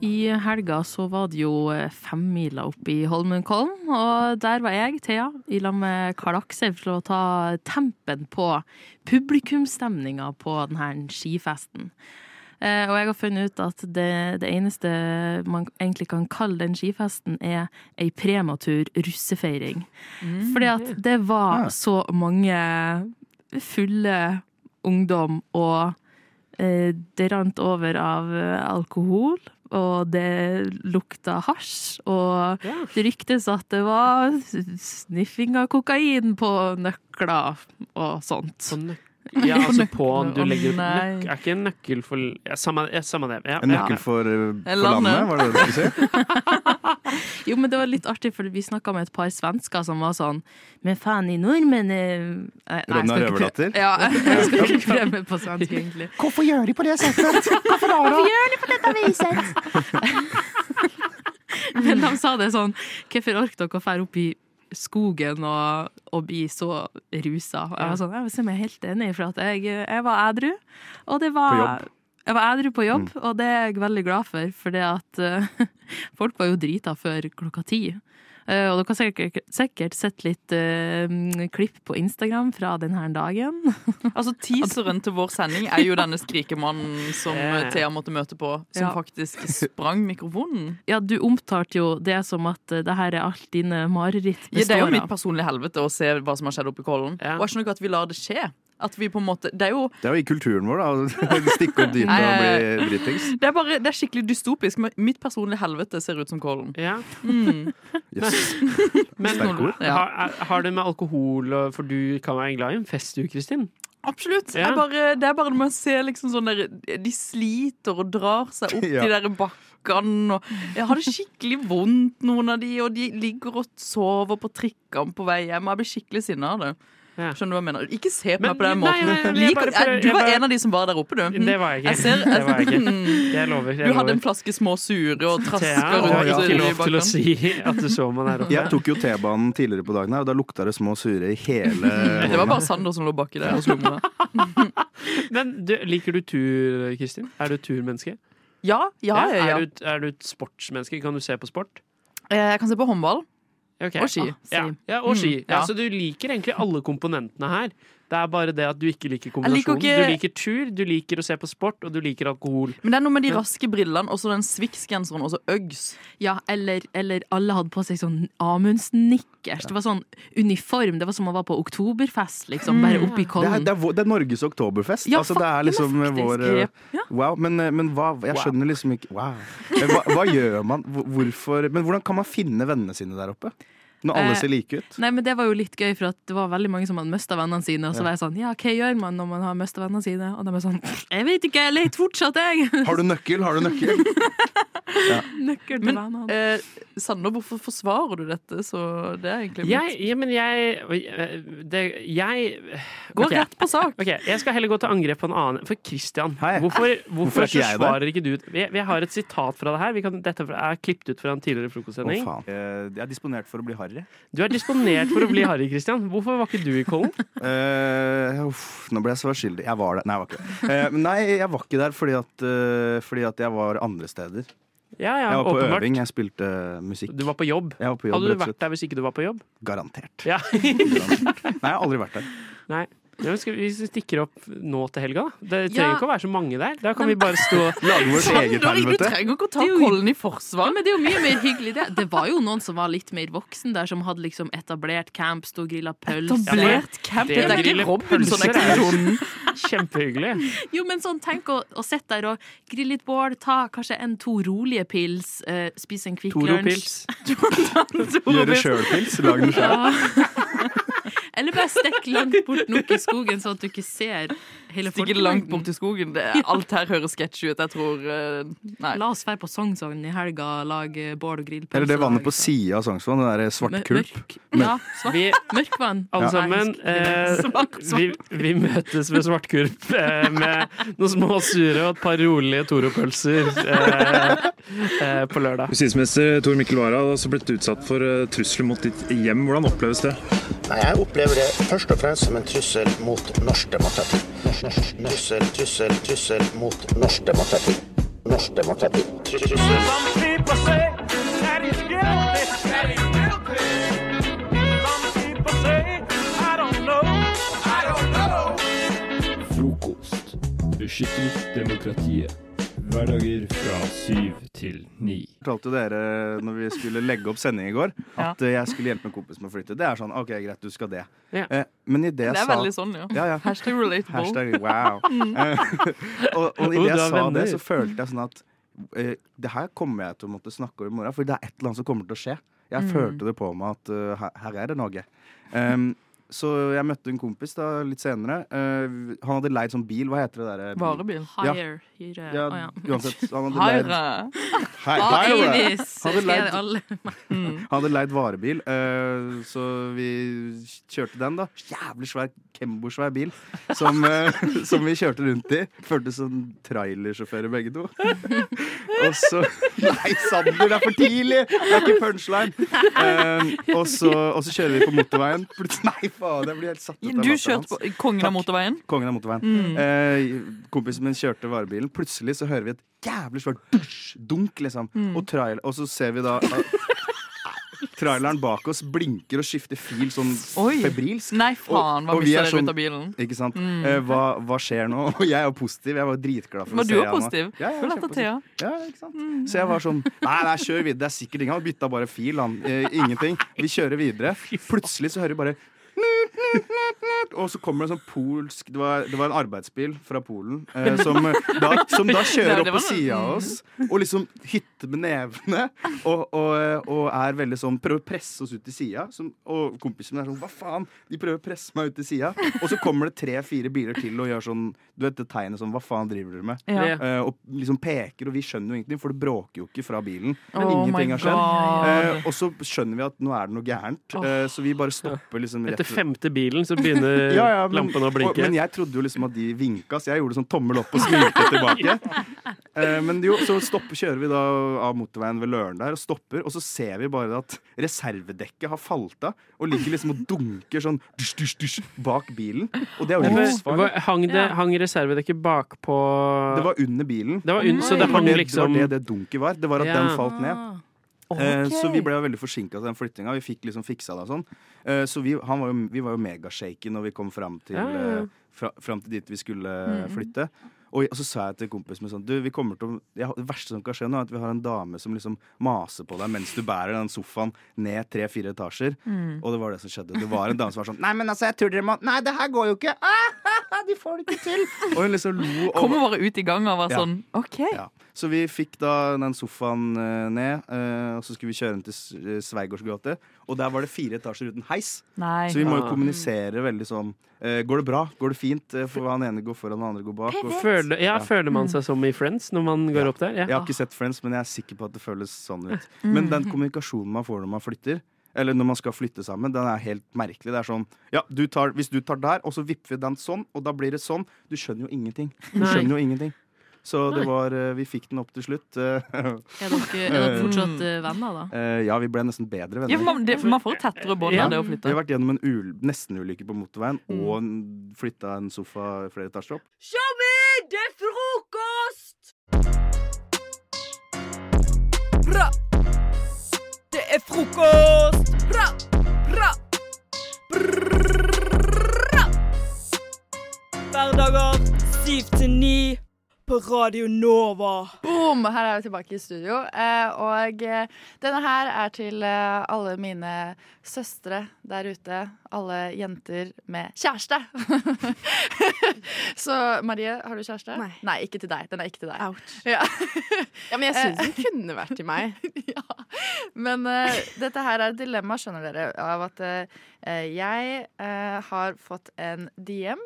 I helga så var det jo eh, femmila oppe i Holmenkollen, og der var jeg, Thea, i lag med Karl Aksel for å ta tempen på publikumsstemninga på denne skifesten. Eh, Og jeg har funnet ut at det, det eneste man egentlig kan kalle den skifesten, er ei prematur russefeiring. Fordi at det var så mange fulle ungdom, og eh, det rant over av eh, alkohol. Og det lukta hasj, og det ryktes at det var sniffing av kokain på nøkler og sånt. Ja, altså på du Å, legger nei. nøk, Er ikke en nøkkel for ja, Samme, ja, samme det. Ja, En ja. nøkkel for, eh, for Landet. landet, var det det du skulle si? Jo, men det var litt artig, for vi snakka med et par svensker som var sånn Men faen, i nordmenn eh, nei, jeg skal Ronja ikke prø- Røverdatter? Ja, jeg skal ikke prøve meg på svensk, egentlig. Hvorfor gjør de på det settet? Hvorfor da? Hvorfor gjør de på dette viset? Men de sa det sånn Hvorfor orker dere å fære opp i skogen og, og bli så rusa? Og jeg var sånn, jeg vil si meg helt enig, for at jeg, jeg var ædru. Og det var På jobb. Mm. Jeg var ædru på jobb, og det er jeg veldig glad for, for det at eh, folk var jo drita før klokka ti. Eh, og dere har sikkert, sikkert sett litt eh, klipp på Instagram fra denne dagen. Altså Teaseren til vår sending er jo denne skrikemannen som eh, Ja. Thea måtte møte på, som Ja. faktisk sprang mikrofonen. Ja, du omtalte jo det som at eh, det her er alt dine mareritt Ja, det er jo består mitt av. personlige helvete å se hva som har skjedd oppe i Kollen. Og jeg skjønner ikke at vi lar det skje. At vi på en måte, det er jo eh, Det er jo i kulturen vår, da. Stikke opp dyna og bli dritings. det er, bare, det er skikkelig dystopisk, men mitt personlige helvete ser ut som Kollen. Mm. Men Sterke ord. Ja. har, er- har det med alkohol og- For du kan være glad i en fest, du, Kristin. Absolutt. Ja. Jeg bare, det er bare når man ser liksom sånn der De sliter og drar seg opp Ja. de der bakkene og Jeg har det skikkelig vondt, noen av de, og de ligger og sover på trikkene på vei hjem. og Jeg blir skikkelig sinna av det. Skjønner du hva jeg mener? Ikke se på Men- meg på den nei, måten. nei, nei, jeg Liker- bare prøver- du jeg var bare- en av de som var der oppe, du. Det var jeg ikke. Jeg ser- Det var jeg ikke. Jeg lover. Jeg Du hadde lover. en flaske små sure og traska Thea, du har rundt ikke lov til å bakkene. si at du så man her oppe. Jeg tok jo T-banen tidligere på dagen her, og da lukta det små sure i hele Det var bare Sander som lå baki der og slo meg. Men du, liker du tur, Kristin? Er du et turmenneske? Ja, ja, ja, ja. Er, du, et- er du et sportsmenneske? Kan du se på sport? Eh, Jeg kan se på håndball. Ok. Ah, Og ski. Ja, ja og ski. Mm, Ja, ja. så du liker egentlig alle komponentene her. Det er bare det at du ikke liker liker kombinasjonen. ikke- Du liker tur, du liker å se på sport, og du liker alkohol. Men det er noe med de raske brillene og så den Swix-genseren og så Uggs. Ja, eller, eller alle hadde på seg sånn Amundsen-nikkers. Det var sånn uniform. Det var som om man var på oktoberfest, liksom. Bare Mm. oppi Det er, kollen. det, er, vår- det er Norges oktoberfest. Ja, altså, det fak- er ja, liksom men faktisk, vår eh, ja. Wow. Men, eh, men hva Jeg Wow. skjønner liksom ikke Wow. Men Hva, hva gjør man? Hvor- Hvorfor Men hvordan kan man finne vennene sine der oppe? Når alle Eh, ser like ut? Nei, men Det var jo litt gøy, for at det var veldig mange som hadde mista vennene sine. Og så Ja. var jeg sånn Ja, hva gjør man når man har mista vennene sine? Og de er sånn Jeg vet ikke, jeg leter fortsatt, jeg. Har du nøkkel? Har du nøkkel? Nøkkel til vennene. Eh, Sander, hvorfor forsvarer du dette? Så det er egentlig mitt Jeg, ja, men jeg øh, det, Jeg Gå ok. rett på sak. Ok, Jeg skal heller gå til angrep på en annen. For Christian, hvorfor, Hvorfor hvorfor er ikke jeg der? forsvarer ikke du jeg, jeg har et sitat fra det her. Vi kan, dette er klippet ut fra en tidligere frokostsending. Å, faen. Eh, Jeg er disponert for å bli harry. harry. Du er disponert for å bli harry, Christian. Hvorfor var ikke du i Kollen? Eh, uff, nå ble jeg så skyldig. Jeg var der. Nei, jeg var ikke det. Eh, men nei, jeg var ikke der fordi at, eh, fordi at jeg var andre steder. Ja, ja, jeg var på åpenbart. øving, jeg spilte musikk. Du var på jobb? Jeg var på jobb Hadde du rett og vært der hvis ikke du var på jobb? slett. Garantert. Ja. Nei, jeg har aldri vært der. Nei. Ja, men skal vi stikker opp nå til helga, da. Det trenger Ja. ikke å være så mange der. Da kan vi bare stå Sander, vi trenger ikke å ta kollen i forsvar. men Men det er jo mye mer hyggelig, det. Det var jo noen som var litt mer voksen der, som hadde liksom etablert camp, stod og grilla pølser. Etablert camp? Det er Grille ikke Robinson, pølser det er er jo- ikke Kjempehyggelig. Jo, men sånn, tenk å, å sitte der og grille litt bål, ta kanskje en to rolige pils, eh, spise en Kvikk Toro Lunsj. pils. Gjøre sjøl-pils. Lag den sjøl. Eller bare stikk langt bort nok i skogen, sånn at du ikke ser hele Stikke langt bort i skogen. Det, Ja. alt her høres sketsj ut. Jeg tror eh, Nei. La oss være på Sognsogn i helga, lage bål og grillpølse. Eller det vannet på sida av Sognsvann, det der svartkulp. Ja, svart. Mørkvann. Alle sammen, eh, vi, vi møtes ved Svartkurp eh, med noen små sure og et par rolige Toro-pølser eh, eh, på lørdag. Justisminister Tor Mikkel Wara har også blitt utsatt for eh, trusler mot ditt hjem. Hvordan oppleves det? Nei, Jeg opplever det først og fremst som en trussel mot norsk demokrati. Norsk- norsk- Trussel, trussel, trussel mot norsk demokrati. Norsk demokrati. Tru- Trussel. Frokost. Beskytter demokratiet. Hverdager fra syv til ni. Jeg fortalte jo dere når vi skulle legge opp sending i går, at eh, jeg skulle hjelpe en kompis med å flytte. Det er sånn OK, greit, du skal det. Ja. Eh, Men i det jeg Det er sa veldig sånn, ja. ja, ja. Hashtag relatable. Hashtag wow. Mm. Eh, og og Oh, i det du jeg har sa det, venner. så følte jeg sånn at eh, det her kommer jeg til å måtte snakke om i morgen, for det er et eller annet som kommer til å skje. Jeg Mm. følte det på meg at eh, her, her er det noe. Em, så jeg møtte en kompis da litt senere. Eh, han hadade leid sånn bil. Hva heter det derre? Varebil. Ja. Hire, hyre, Ja, å ja. uansett. Han hadde leid Hire. Hei, Ah, hei, Laura. Iris, Hadde skal leid- jeg alle- Mm. Mm. Han hadde leid varebil, eh, så vi kjørte den, da. Jævlig svær Kembo-svær bil som, eh, som vi kjørte rundt i. Føltes som trailersjåfører, begge to. Og så Nei, Sander, det er for tidlig! Det er ikke punchline! Eh, og, så, og så kjører vi på motorveien. Plut- Nei, faen, jeg blir helt satt ut av Du latteren kjørte hans. på kongen av motorveien? Kongen av motorveien. Mm. Eh, kompisen min kjørte varebilen. Plutselig så hører vi et jævlig svært dusj, dunk, liksom. Mm. Og, trail, og så ser vi da eh, Traileren bak oss blinker og skifter fil sånn Oi. febrilsk. Nei, faen, hva og vi mista er sånn- dere ut av bilen? Ikke sant? Mm. Eh, hva, hva skjer nå? Og jeg er jo positiv. Jeg var dritglad for Var å du se også han. positiv? Ja, jeg Hvor var lette kjempepositiv. Ja, ikke sant? Mm. Så jeg var sånn Nei, nei, kjør videre. Det er sikkert ingen. Han bytta bare fil, han. Eh, ingenting. Vi kjører videre. Plutselig så hører vi bare og så kommer det en sånn polsk Det var, det var en arbeidsbil fra Polen eh, som, eh, da, som da Ja, kjører opp det var på sida av noe. oss og liksom hytter med nevene. Og, og, eh, og er veldig sånn prøver å presse oss ut til sida. Og kompisen min er sånn Hva faen? De prøver å presse meg ut til sida. Og så kommer det tre-fire biler til og gjør sånn Du vet det tegnet sånn Hva faen driver dere med? Ja. Eh, og liksom peker, og vi skjønner jo ingenting, for det bråker jo ikke fra bilen. Oh my Ingenting har skjedd. God. Eh, og så skjønner vi at nå er det noe gærent, eh, så vi bare stopper liksom rett Etter femte bilen så begynner lampene å og- blinke. Men jeg trodde jo liksom at de vinka, så jeg gjorde sånn tommel opp og smilte tilbake. Eh, Men jo, så stopper, kjører vi da av motorveien ved Løren der og stopper, og så ser vi bare at reservedekket har falt av og ligger liksom og dunker sånn dusj, dusj, dusj, bak bilen. Og det er jo Men- livsfarlig. hva- hang, det, hang reservedekket bakpå Det var under bilen. Det var under, så det hang var liksom det, var det det dunket var. Det var at Ja. den falt ned. Eh, Ok. Så vi ble jo veldig forsinka til den flyttinga. Vi fikk liksom fiksa det og sånn. Eh, Så vi, han var jo, vi var jo megashaken når vi kom fram til, Ja, ja, ja. eh, fra, fram til dit vi skulle eh, Mm. flytte. Og, og så sa jeg til kompisen min sånn Du, vi kommer til å jeg, har- Det verste som kan skje nå, er at vi har en dame som liksom maser på deg mens du bærer den sofaen ned tre-fire etasjer. Mm. Og det var det som skjedde. Det var en dame som var sånn Nei, men altså, jeg tror dere må Nei, det her går jo ikke! Ah, de får det ikke til! Og hun liksom lo. og- Kommer bare ut i gangen og var Ja. sånn OK. Ja. Så vi fikk da den sofaen eh, ned, eh, og så skulle vi kjøre den til S- eh, Sveigårds gate. Og der var det fire etasjer uten heis, Nei. så vi må jo Ah. kommunisere veldig sånn. eh, går det bra? Går det fint? Eh, For han ene går foran, den andre går bak. Og... Føler, ja, føler man seg som i Friends når man går opp der? Jeg har ikke sett Friends, men jeg er sikker på at det føles sånn ut. Men den kommunikasjonen man får når man flytter, eller når man skal flytte sammen, den er helt merkelig. Det er sånn ja, du tar, hvis du tar der, og så vipper vi den sånn, og da blir det sånn. Du skjønner jo ingenting. Du Nei. skjønner jo ingenting. Så Nei. det var, eh, vi fikk den opp til slutt. Eh, Er dere- er dere fortsatt, eh, venner da? Ja, vi ble nesten bedre venner. Ja, for man- det- man får tettere bånd av det å flytte. Mm. Vi har vært gjennom en ul- nesten-ulykke på motorveien og en- flytta en sofa flere etasjer opp. Tommy, det er frokost! Bra! Det er frokost! Bra! Bra! Bra! Hverdager 7 til 9 på Radio Nova. Boom! Her er vi tilbake i studio. Eh, og eh, denne her er til eh, alle mine søstre der ute. Alle jenter med kjæreste. Så Marie, har du kjæreste? Nei. ikke til deg. Den er ikke til deg. Ja. Ja, men jeg Eh. synes den kunne vært til meg. Men eh, dette her er et dilemma, skjønner dere, av at eh, jeg eh, har fått en DM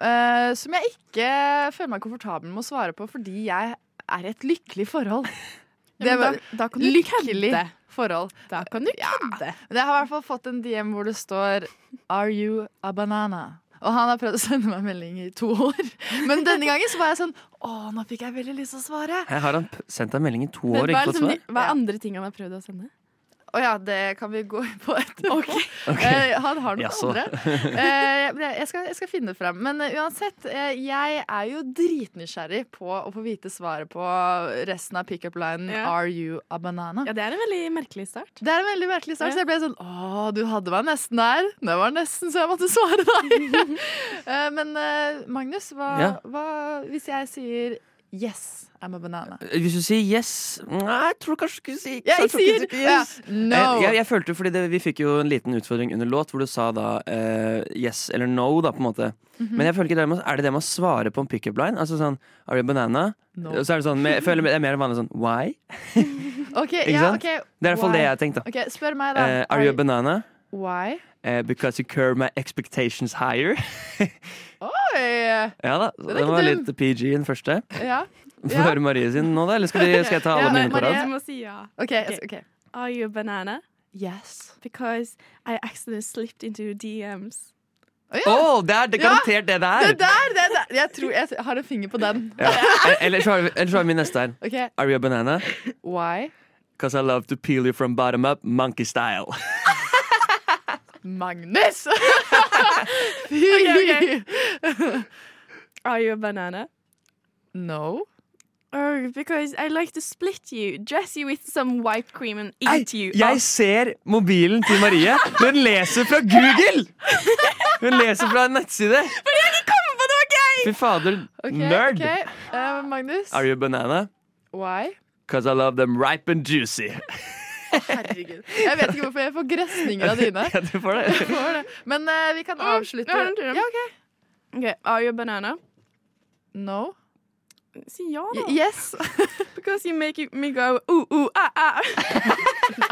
eh, som jeg ikke føler meg komfortabel med å svare på fordi jeg er i et lykkelig forhold. Ja, men var- da- da kan du lykkelig kødde. forhold. Da kan du kødde. Men jeg har i hvert fall fått en DM hvor det står 'Are you a banana?' Og han har prøvd å sende meg melding i to år. Men denne gangen så var jeg sånn Å, nå fikk jeg veldig lyst til å svare. Her har han p- sendt deg melding i to Men hva år og ikke er, fått liksom, svar. de- hva er andre ting han har prøvd å sende? Å ja, det Eh, kan vi gå på etterpå. Eh, han har noen Jaså. andre. Eh, men jeg, skal, jeg skal finne det frem. Men eh, uansett, eh, jeg er jo dritnysgjerrig på å få vite svaret på resten av pickup-linen Ja. Are you a banana? Ja, Det er en veldig merkelig start. Det er en veldig merkelig Ja. start, så jeg ble sånn Å, du hadde meg nesten der. Det var nesten så jeg måtte svare deg. Eh, Men eh, Magnus, hva, Ja. hva hvis jeg sier yes, I'm a banana? Hvis du sier yes Eh, mm, Nei, jeg tror kanskje du skulle si Ja, jeg tror ikke sier du skulle yes. ja. no. Eh, Jeg, jeg, jeg følte fordi det, Vi fikk jo en liten utfordring under låt hvor du sa da eh, yes eller no, da, på en måte. Mhm. Men jeg føler ikke det med, er det det med å svare på en pickup line? Altså sånn Are you a banana? No. Og så er det sånn, men jeg føler det er mer vanlig sånn why? Ok, Ikke ja, sant? ok. Det er i hvert fall det Why? jeg tenkte. Ok, Spør meg, da. Eh, are you a banana? Why? Eh, because you curve my expectations higher. Oi! ja da, er den ikke var dum. litt PG, den første. Ja. Får høre Marie sin nå, da? Eller skal, vi, skal jeg ta alle mine på Du rad? må si ja. Ok, jeg skal- ok. Are you a banana? Yes. Because I accidentally slipped into your DMs. Å, det er det er garantert det det er! Det der, det der. Jeg tror jeg har en finger på den. Ja. Eller Eh, så har vi- eller så har vi min neste her. Ok. Are you a banana? Why? Because I love to peel you from bottom up, monkey style. Magnus! Fy! Okay, Are you a banana? No. Oh, because I like to split you, dress you with some whipped cream and eat you. Jeg up. ser mobilen til Marie, men hun leser fra Google! Hun leser fra en nettside. Fordi jeg ikke kommer på noe gøy! Fy fader, Ok, nerd! ok. Eh, Magnus. Are you a banana? Why? Because I love them ripe and juicy. Herregud. Jeg vet ikke hvorfor jeg får gresninger av dine. Ja, du får Jeg det. får det. Men eh, vi kan avslutte. jeg har en til. Ja, ok. Okay, are you a banana? No. Oh, Si ja, da. Y- yes. because you make me go ooh, ooh, ah, ah.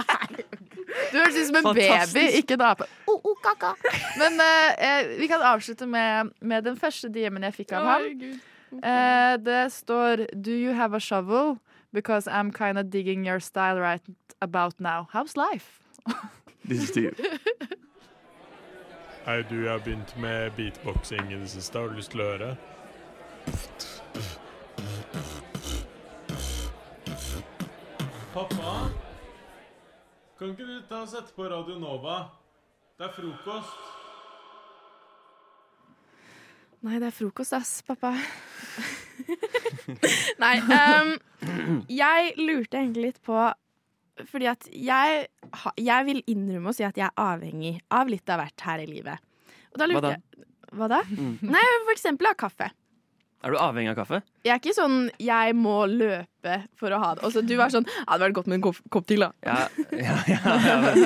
Du høres ut som en Fantastisk. baby, ikke en ape. Oh, oh, kaka. Men eh, eh, vi kan avslutte med, med den første DM-en jeg fikk av ham. Eh, det står Do you have a shovel? Because I'm kinda digging your style right about now. How's life? This is Steve. Hei, du, jeg har begynt med beatboxing i det siste. Har du lyst til å høre? Pappa, kan ikke du ta og sette på Radio Nova? Det er frokost. Nei, det er frokost, ass, pappa. Nei, ehm, jeg lurte egentlig litt på Fordi at jeg, ha- jeg vil innrømme å si at jeg er avhengig av litt av hvert her i livet. Og da Hva da? lurte jeg Hva da? Mm. Nei, for eksempel av kaffe. Er du avhengig av kaffe? Jeg er ikke sånn 'jeg må løpe for å ha det'. Og så du var sånn 'ja, det hadde vært godt med en kopp, kopp til', da. Ja, ja, ja, ja men,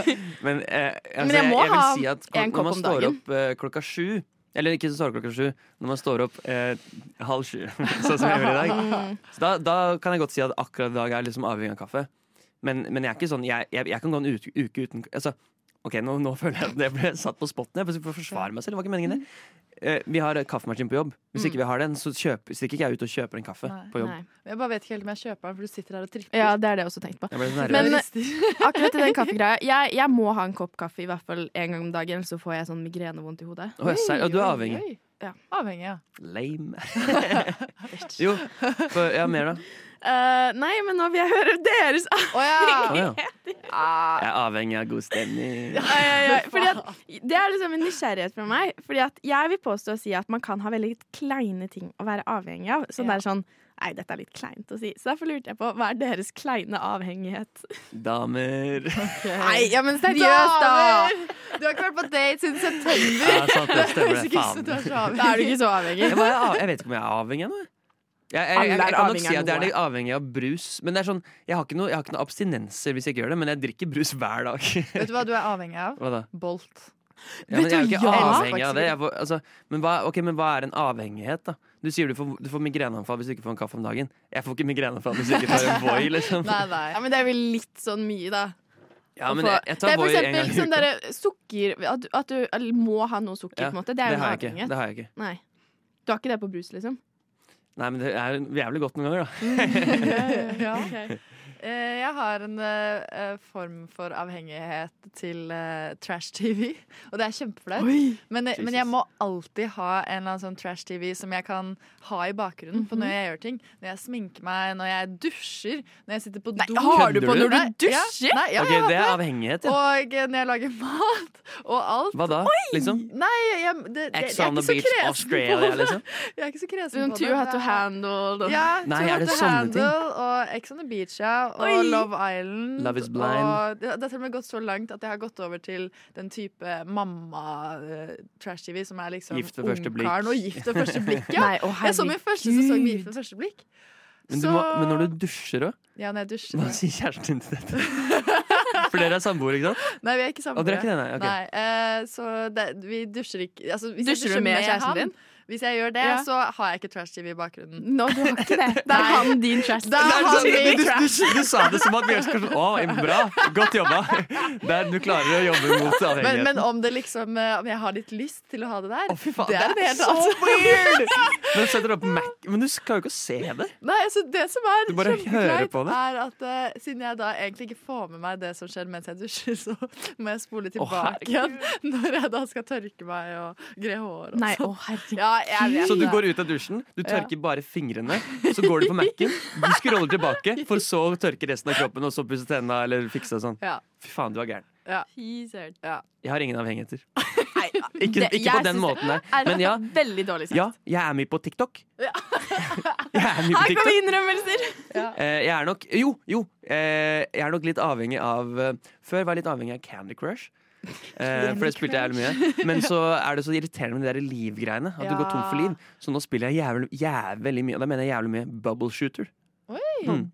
men, eh, altså, Men jeg må vil ha si at en når kopp man om står dagen. opp eh, klokka sju Eller ikke står opp klokka sju, når man står opp eh, halv sju, sånn som jeg gjør i dag. Mm. Så da, da kan jeg godt si at akkurat i dag er jeg liksom avhengig av kaffe. Men, men jeg er ikke sånn Jeg, jeg, jeg kan gå en uke, uke uten altså, OK, nå, nå føler jeg at jeg ble satt på spotten. Jeg plutselig får forsvare meg selv. Det var ikke meningen, det. Eh, vi har eh, kaffemaskin på jobb. Mm. Hvis ikke vi har den, så kjøper, stikker ikke jeg ut og kjøper en kaffe Nei. på jobb. Jeg bare vet ikke helt om jeg kjøper den, for du sitter her og trykker. Ja, det er det jeg også tenkte på. Jeg ble så nervøs. Men Rister. akkurat i den kaffegreia jeg, jeg må ha en kopp kaffe i hvert fall en gang om dagen, ellers så får jeg sånn migrenevondt i hodet. Å, jeg ser- ja, du er avhengig. Avhengig, ja. Lame. jo, for, ja, mer da? Eh, nei, men nå vil jeg høre deres Å, ja. Ah. Jeg er avhengig av god stemning. Ja, ja, ja. Fordi at, det er liksom en nysgjerrighet fra meg. Fordi at jeg vil påstå å si at man kan ha veldig kleine ting å være avhengig av. Så det er sånn Nei, dette er litt kleint å si. Så derfor lurte jeg på hva er deres kleine avhengighet? Damer. Nei, ja, men seriøst, da! Damer! Du har ikke vært på date siden september! Ja, sant, det stemmer Det høres det. Faen. ikke ut som du er så avhengig. Da er du ikke så avhengig. Jeg, bare, er av- jeg vet ikke om jeg er avhengig ennå. Jeg, jeg, jeg, Alle jeg, er kan nok avhengig av si at jeg er noe. litt avhengig av brus. Men det er sånn, jeg har ikke noe, jeg har ikke noe abstinenser hvis jeg ikke gjør det, men jeg drikker brus hver dag. Vet du hva du er avhengig av? Hva da? Bolt. Ja, men jeg er jo ikke avhengig av det. Jeg Jeg får, altså, men, hva, ok, men hva er en avhengighet, da? Du sier du får, du får migreneanfall hvis du ikke får en kaffe om dagen. Jeg får ikke migreneanfall hvis jeg ikke tar en Voi, liksom. Ja, men det er vel litt sånn mye, da. Ja, Å men få- jeg, jeg tar det er for Voi en gang eksempel i sånn uka. derre sukker at du, at du eller må ha noe sukker, Ja, på en måte. Det er jo det en har jeg ikke, avhengighet. det har jeg ikke. Nei. Du har ikke det på brus, liksom? Nei, men det er jo jævlig godt noen ganger, da. Mm, ja. Eh, Jeg har en eh, eh, form for avhengighet til eh, trash-TV, og det er Oi! kjempeflaut. Men, eh, men jeg må alltid ha en eller annen sånn trash-TV som jeg kan ha i bakgrunnen Mhm. på når jeg gjør ting. Når jeg sminker meg, når jeg dusjer, når jeg sitter på do. har du på når du Nei, ja, dusjer? Nei, ja, Ok, jeg har det er på avhengighet, ja. Og eh, når jeg lager mat, og alt. Hva da, liksom? Nei, jeg, det, det, Ex jeg on er ikke the så beach, kresen Australia, på det. liksom? Jeg er ikke så kresen Sånn på det. Too Hot Det to er- Handle og- Ja, Nei, Too er Hot det to sånne ting? Handle og Ex on the Beach, ja. Og Oi! Love Island. Love is blind. Og det, det har til og med gått så langt at jeg har gått over til den type eh, mamma-trash-TV som er liksom Gift ved første blikk. ungkaren og gift ved første blikk. Ja. Nei, å, jeg så min første sesong med Gift ved første blikk. Men, du må, men når du dusjer òg, Ja, når jeg dusjer. hva sier kjæresten din til dette? For dere er samboere, ikke sant? Nei, vi er ikke Å, samboere. dere er ikke det, nei, ok. eh, så det, vi dusjer ikke altså, hvis jeg Dusjer du med kjæresten han, din? Hvis jeg gjør det, Ja. så har jeg ikke trash-TV i bakgrunnen. No, du har ikke det. Det er han din trash. Da Nei, har du, vi du, du, trash. du, du sa det som at vi elsker sånn Å, bra! Godt jobba! Der du klarer å jobbe mot Men, avhengigheten. men om det liksom eh, Om jeg har litt lyst til å ha det der, faen, det er det det er helt så annet. weird! Men, setter du opp Mac Men du skal jo ikke se det. Nei, altså det som er Du bare hører på det. er at eh, siden jeg da egentlig ikke får med meg det som skjer mens jeg dusjer, så må jeg spole tilbake igjen når jeg da skal tørke meg og gre hår og Nei, å, herregud. Ja, jeg vet Så du det. går ut av dusjen, du tørker bare fingrene, så går du på Mac-en, du scroller tilbake, for så å tørke resten av kroppen, og så pusse tenna eller fikse og sånn. Ja. Fy faen, du er gæren. Ja. Ja. Jeg har ingen avhengigheter. Ikke, Det- ikke jeg på synes den det måten der. er Men ja, Veldig dårlig sagt. ja, jeg er mye på TikTok. Jeg er mye på Her kommer TikTok. innrømmelser! Eh, Jeg er nok Jo, jo! eh, Jeg er nok litt avhengig av eh, Før var jeg litt avhengig av Candy Crush. Eh, for det spilte jeg jævlig mye. Men så er det så irriterende med de der livgreiene. At du går tom for Ja. liv. Så nå spiller jeg jævlig, jævlig mye, og da mener jeg jævlig mye bubble shooter. Oi. Mm.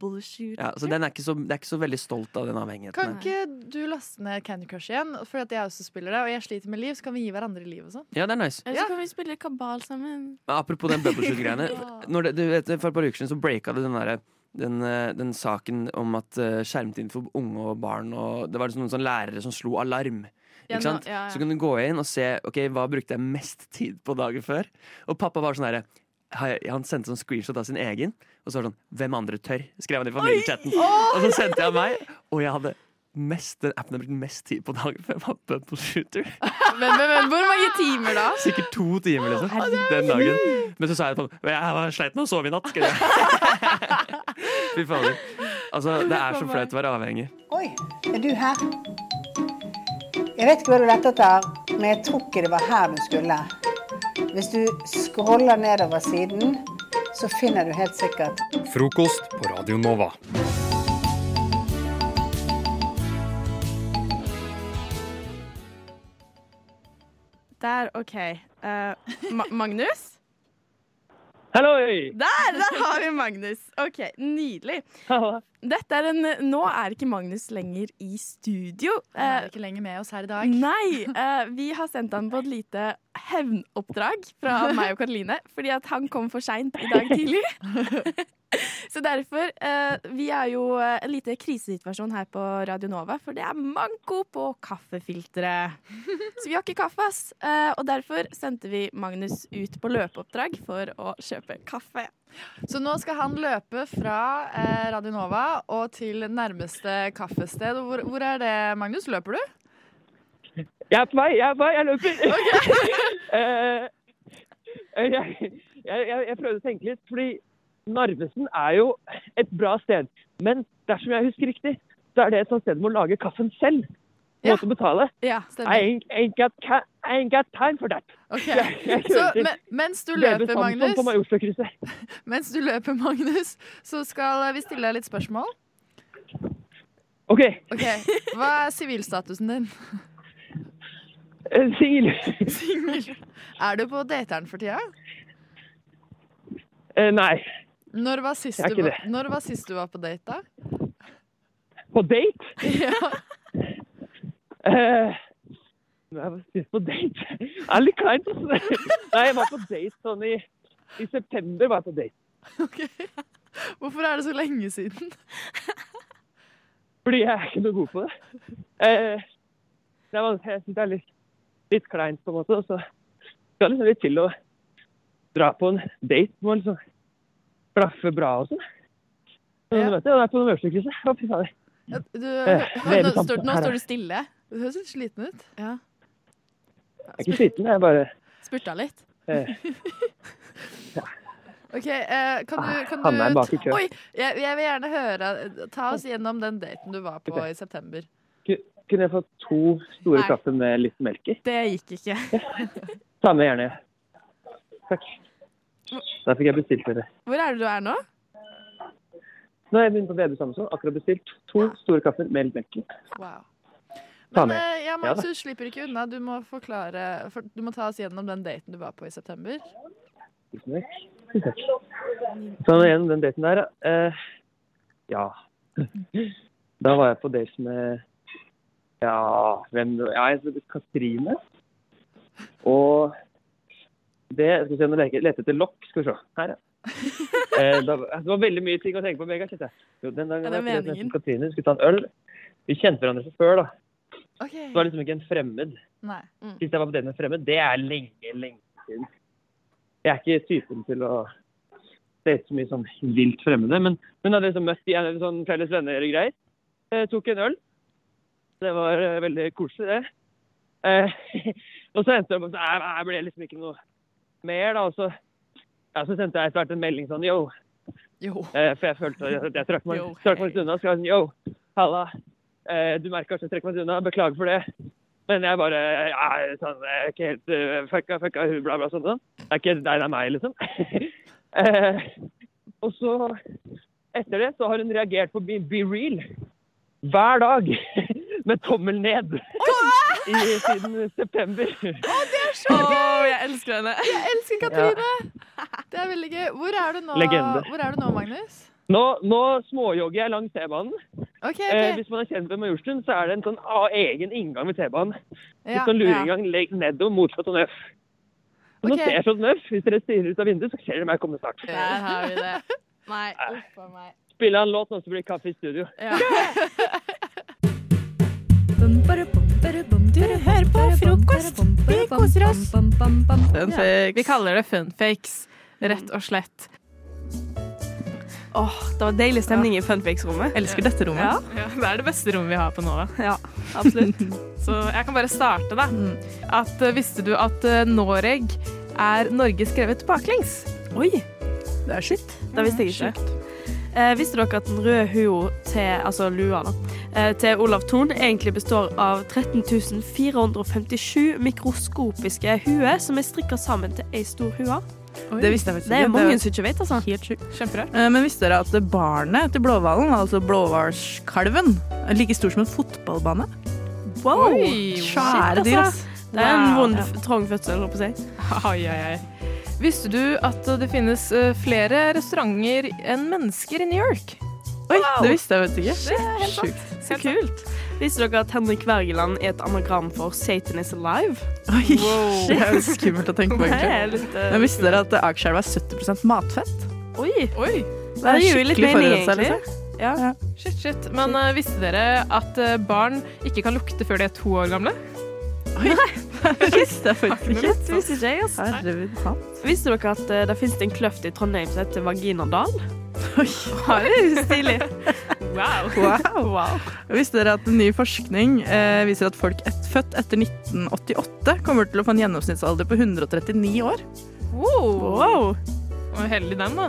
Ja, så den er ikke så, jeg er ikke så veldig stolt av den avhengigheten. Kan her. ikke du laste ned Candy Crush igjen? For at jeg også spiller det, og jeg sliter med liv, så kan vi gi hverandre liv og sånn. Ja, det er nice. Eller så kan vi spille kabal sammen. Men apropos den bubbleshoot-greiene. når det- du vet, For et par uker siden så breaka det den derre den, eh, den saken om at eh, skjermtiden for unge og barn og Det var liksom noen sånne lærere som slo alarm. Ja, Ikke sant? nå- ja, ja. Så kan du gå inn og se ok, hva brukte jeg mest tid på dagen før. Og pappa var sånn herre han sendte sånn screenshot av sin egen, og så var det sånn 'Hvem andre tør?' skrev han i familiechatten. Oi! Og så sendte jeg meg, og jeg hadde mest, den appen jeg brukte mest tid på dagen før, var Bubble Shooter. Men, men, men hvor mange timer da? Sikkert to timer, liksom. Den dagen. Men så sa jeg på den, Jeg var sleit med å sove i natt. skrev jeg. Fy fader. Altså, det er så flaut å være avhengig. Oi, er du her? Jeg vet ikke hva du lette etter, men jeg tror ikke det var her du skulle. Hvis du scroller nedover siden, så finner du helt sikkert Frokost på Radio Nova. Der, OK. Eh, Ma Magnus? Halloi! Der, der har vi Magnus. OK, nydelig. Dette er en, nå er ikke Magnus lenger i studio. Eh, Han er ikke lenger med oss her i dag. Nei, eh, vi har sendt han på et lite hevnoppdrag fra meg og Karoline, fordi at han kom for seint i dag tidlig. Så derfor, eh, vi er jo eh, en lite krisesituasjon her på Radio Nova, for det er manko på kaffefiltre. Så vi har ikke kaffe, ass. Eh, og derfor sendte vi Magnus ut på løpeoppdrag for å kjøpe kaffe. Så nå skal han løpe fra eh, Radio Nova og til nærmeste kaffested. Hvor, hvor er det, Magnus? Løper du? Jeg er på vei, jeg er på vei, jeg løper. Eh, Jeg, jeg, jeg, jeg prøvde å tenke litt, fordi Narvesen er jo et bra sted. Men dersom jeg husker riktig, så er det et sånt sted du må lage kaffen selv. Du måtte betale. Ja, I ain't, ain't, got, ca- I ain't got time for that. Ok, Jeg- jeg Så kjører til men, mens du Bebe løper, Samson På Magnus, Majorstukrysset. mens du løper, Magnus, så skal vi stille deg litt spørsmål. OK. Ok, Hva er sivilstatusen din? eh, Singel. Singel. Er du på dateren for tida? Eh, Nei. Når var sist, Jeg er du, ikke var- det. når var sist du var på date, da? På date? Ja. Eh, når jeg var sist på date? Det er litt kleint. altså. Nei, jeg var på date sånn i, i september. var jeg på date. Hvorfor er det så lenge siden? Fordi jeg er ikke noe god på det. Eh, det er vanskelig. Jeg syns det er litt, litt kleint, på en måte. Og så skal det liksom litt til å dra på en date. Må liksom klaffe bra og sånn. Men du vet det, det er på noen øvelseskrysset. Å, fy fader. Ja, du, Eh, nå, Vebe står, Samson nå her, står da. du stille. Du høres litt sliten ut. Ja. Jeg er ikke sliten, jeg er bare Spurta litt. eh, OK, eh, kan du, kan Han er du bak i kø. Oi, jeg, jeg vil gjerne høre Ta oss gjennom den daten du var på Ok. i september. ku- Kunne jeg fått to store Nei. kaffer med litt melk i? Det gikk ikke. Samme gjerne. Takk. Da fikk jeg bestilt dere. Hvor er det du er nå? Nå er jeg begynner på Vebe Samson. Akkurat bestilt to store kaffer med litt melk i. Wow. Ta Men med. eh, ja, Ja Max, da. du slipper ikke unna. Du må forklare for, Du må ta oss gjennom den daten du var på i september. Tusen takk. Tusen takk. Sånn igjen, den daten der, ja. Eh, ja. Da var jeg på date med Ja, hvem ja, jeg heter Katrine. Og det Skal vi se, nå leker- leter jeg etter lokk. Skal vi se. Her, ja. Eh, da, det var veldig mye ting å tenke på. Mega, kjente jeg. Jo, den dagen Ja, var det er jeg på date med meningen. Katrine, vi skulle ta en øl. Vi kjente hverandre fra før, da. OK. Så det var liksom ikke en fremmed. Nei. Sist jeg var på date med en fremmed, det er lenge, lenge siden. Jeg er ikke typen til å date så mye sånn vilt fremmede, men hun hadde liksom møtt i en sånn felles venner og greier. Eh, tok en øl. Det var eh, veldig koselig, det. Eh, og så endte det opp med at jeg- jeg ble liksom ikke noe mer, da. Og så, ja, så sendte jeg etter hvert en melding sånn yo. Eh, for jeg følte at jeg trakk meg, Yo, trakk meg litt unna. Så jeg var sånn yo, halla. Eh, du merker kanskje jeg trekker meg litt unna, beklager for det. Men jeg bare ja, sånn, jeg er ikke helt eh, fucka, fucka, bla, bla, sånn. sånn. Det er ikke deg, det er meg, liksom. eh, og så, etter det, så har hun reagert på Be, Be Real hver dag med tommel ned i, siden september. det er så gøy! jeg elsker henne. Jeg elsker Katrine. Det er veldig gøy. Hvor er du nå, Legende. Hvor er du nå Magnus? Nå, nå småjogger jeg langs T-banen. Ok, ok. Eh, hvis man er kjent med Majorstuen, så er det en sånn a- egen inngang ved T-banen. Ja, Ja, sånn lurinngang legg nedover mot Chateau Neuf. Så Nå Ok. ser jeg Chateau Neuf. Hvis dere stirrer ut av vinduet, så ser dere meg komme snart. Der har vi det. Nei, uff a meg. Spille en låt, og så blir det kaffe i studio. Du hører på frokost! Vi koser oss! Funfakes. Vi kaller det funfakes, rett og slett. Åh, det var deilig stemning i funfakes-rommet. Elsker dette rommet. Ja. Ja, det er det beste rommet vi har på Nova. Ja, absolutt. Så jeg kan bare starte, da. At, eh, visste du at eh, Noreg er Norge skrevet baklengs? Oi! Det er sjukt. Det visste jeg ikke. Eh, visste dere at den røde hua til altså lua da, eh, til Olav Thon egentlig består av 13 457 mikroskopiske huer som er strikka sammen til ei stor hue? Det visste jeg faktisk Det ikke. er mange Det- som ikke vet, altså. Helt sjukt. Kjemperart. Eh, Men visste dere at barnet til blåhvalen, altså blåhvalskalven, er like stor som en fotballbane? Wow! Oi, Svære shit, dyr, altså. ass. Det er en Wow. vond f- trang fødsel, holdt på å si. Ai, ai, ai. Visste du at det finnes eh, flere restauranter enn mennesker i New York? Oi, det visste jeg vet ikke. Shit, Så kult. Visste dere at Henrik Wergeland er et anagram for Satan is alive? Oi, Det er jo skummelt å tenke på, Det er egentlig. litt, eh, Men visste dere at eh, Akerselva er 70 matfett? Oi! Oi. Det gir jo litt skikkelig mening, forurensa, egentlig. liksom. Ja. Shit, shit. Men eh, visste dere at eh, barn ikke kan lukte før de er to år gamle? Visste jeg faktisk ikke. visste ikke jeg, altså. Visste dere at eh, det finnes en kløft i Trondheim som heter Vaginadal? Oi, det er jo stilig. Wow. wow. Visste dere at ny forskning eh, viser at folk et, født etter 1988 kommer til å få en gjennomsnittsalder på 139 år? Wow. Og heldig den, da.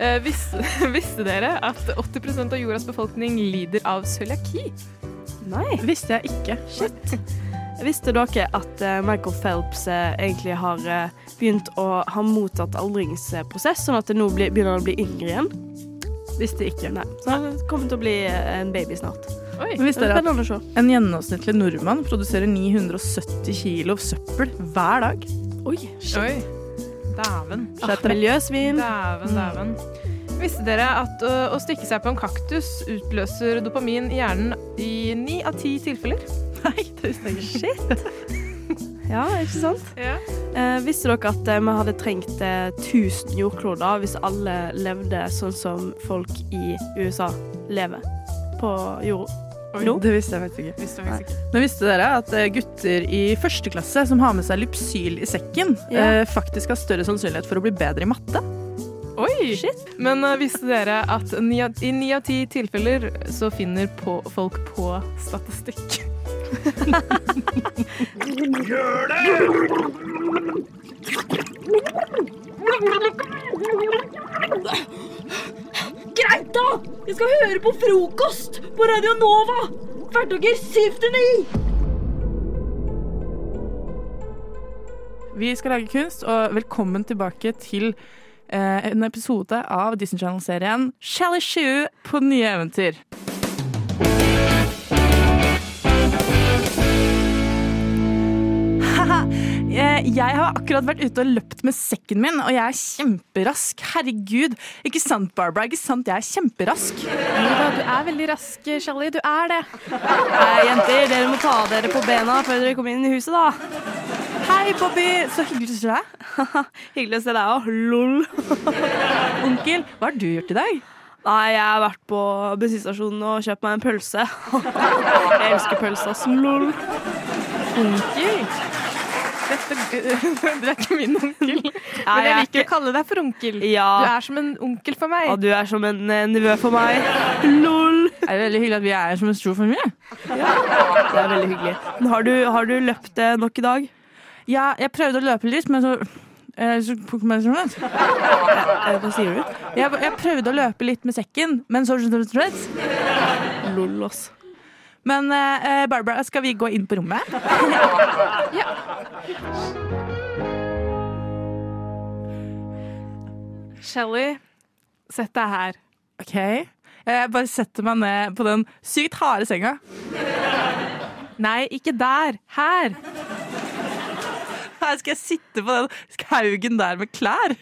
Eh, vis, visste dere at 80 av jordas befolkning lider av cøliaki? Nei. Visste jeg ikke. Shit. Visste dere at eh, Michael Phelps eh, egentlig har eh, begynt å ha mottatt aldringsprosess, sånn at det nå blir, begynner han å bli yngre igjen? Visste ikke. Nei. Så han kommer til å bli eh, en baby snart. Oi, Men visste dere spennende å se. at En gjennomsnittlig nordmann produserer 970 kilo søppel hver dag. Oi, Oi. Dæven. Skjerp dere. Miljøsvin. Ah, Dæven, dæven. Visste dere at ø, å stikke seg på en kaktus utløser dopamin i hjernen i ni av ti tilfeller? Nei, det visste jeg ikke. Ja, ikke sant? Ja. Eh, visste dere at eh, vi hadde trengt eh, 1000 jordkloder hvis alle levde sånn som folk i USA lever på jorda? Nå? Det visste jeg faktisk ikke. Visste jeg faktisk ikke. Mm. Men visste dere at eh, gutter i første klasse som har med seg lypsyl i sekken, Ja. eh, faktisk har større sannsynlighet for å bli bedre i matte? Oi! Men ø, visste dere at ni av, i ni av ti tilfeller så finner på, folk på statistikk? Gjør det! Greit, da! Jeg skal høre på frokost på Radio Nova! Hverdager 7 til 9! Vi skal lage kunst, og velkommen tilbake til eh, en episode av Disney Channel-serien Shall I Shoe på nye eventyr. Haha, eh, Jeg har akkurat vært ute og løpt med sekken min, og jeg er kjemperask. Herregud. Ikke sant, Barbara? Ikke sant, jeg er kjemperask. Du er veldig rask, Shelly. Du er det. Nei, jenter, dere må ta dere på bena før dere kommer inn i huset, da. Hei, Bobby. Så hyggelig å se deg. hyggelig å se deg òg. Lol. Onkel, hva har du gjort i dag? Nei, jeg har vært på bensinstasjonen og kjøpt meg en pølse. jeg elsker pølse, ass. Lol. Onkel? Dette, du er ikke min onkel. Men jeg jeg er liker å kalle deg for onkel. Ja. Du er som en onkel for meg. Ja, du er som en eh, nevø for meg. Lol. Er det veldig hyggelig at vi er som en stor familie? Det er veldig hyggelig. Men har du, har du løpt eh, nok i dag? Ja, jeg prøvde å løpe litt, men så eh, så tok meg sånn ut. Eh, Hva sier du? Jeg, jeg prøvde å løpe litt med sekken, men så Lol, ass. Men eh, Barbara, skal vi gå inn på rommet? Shelly, sett deg her. OK. Jeg bare setter meg ned på den sykt harde senga. Nei, ikke der. Her. Her skal jeg sitte på den haugen der med klær.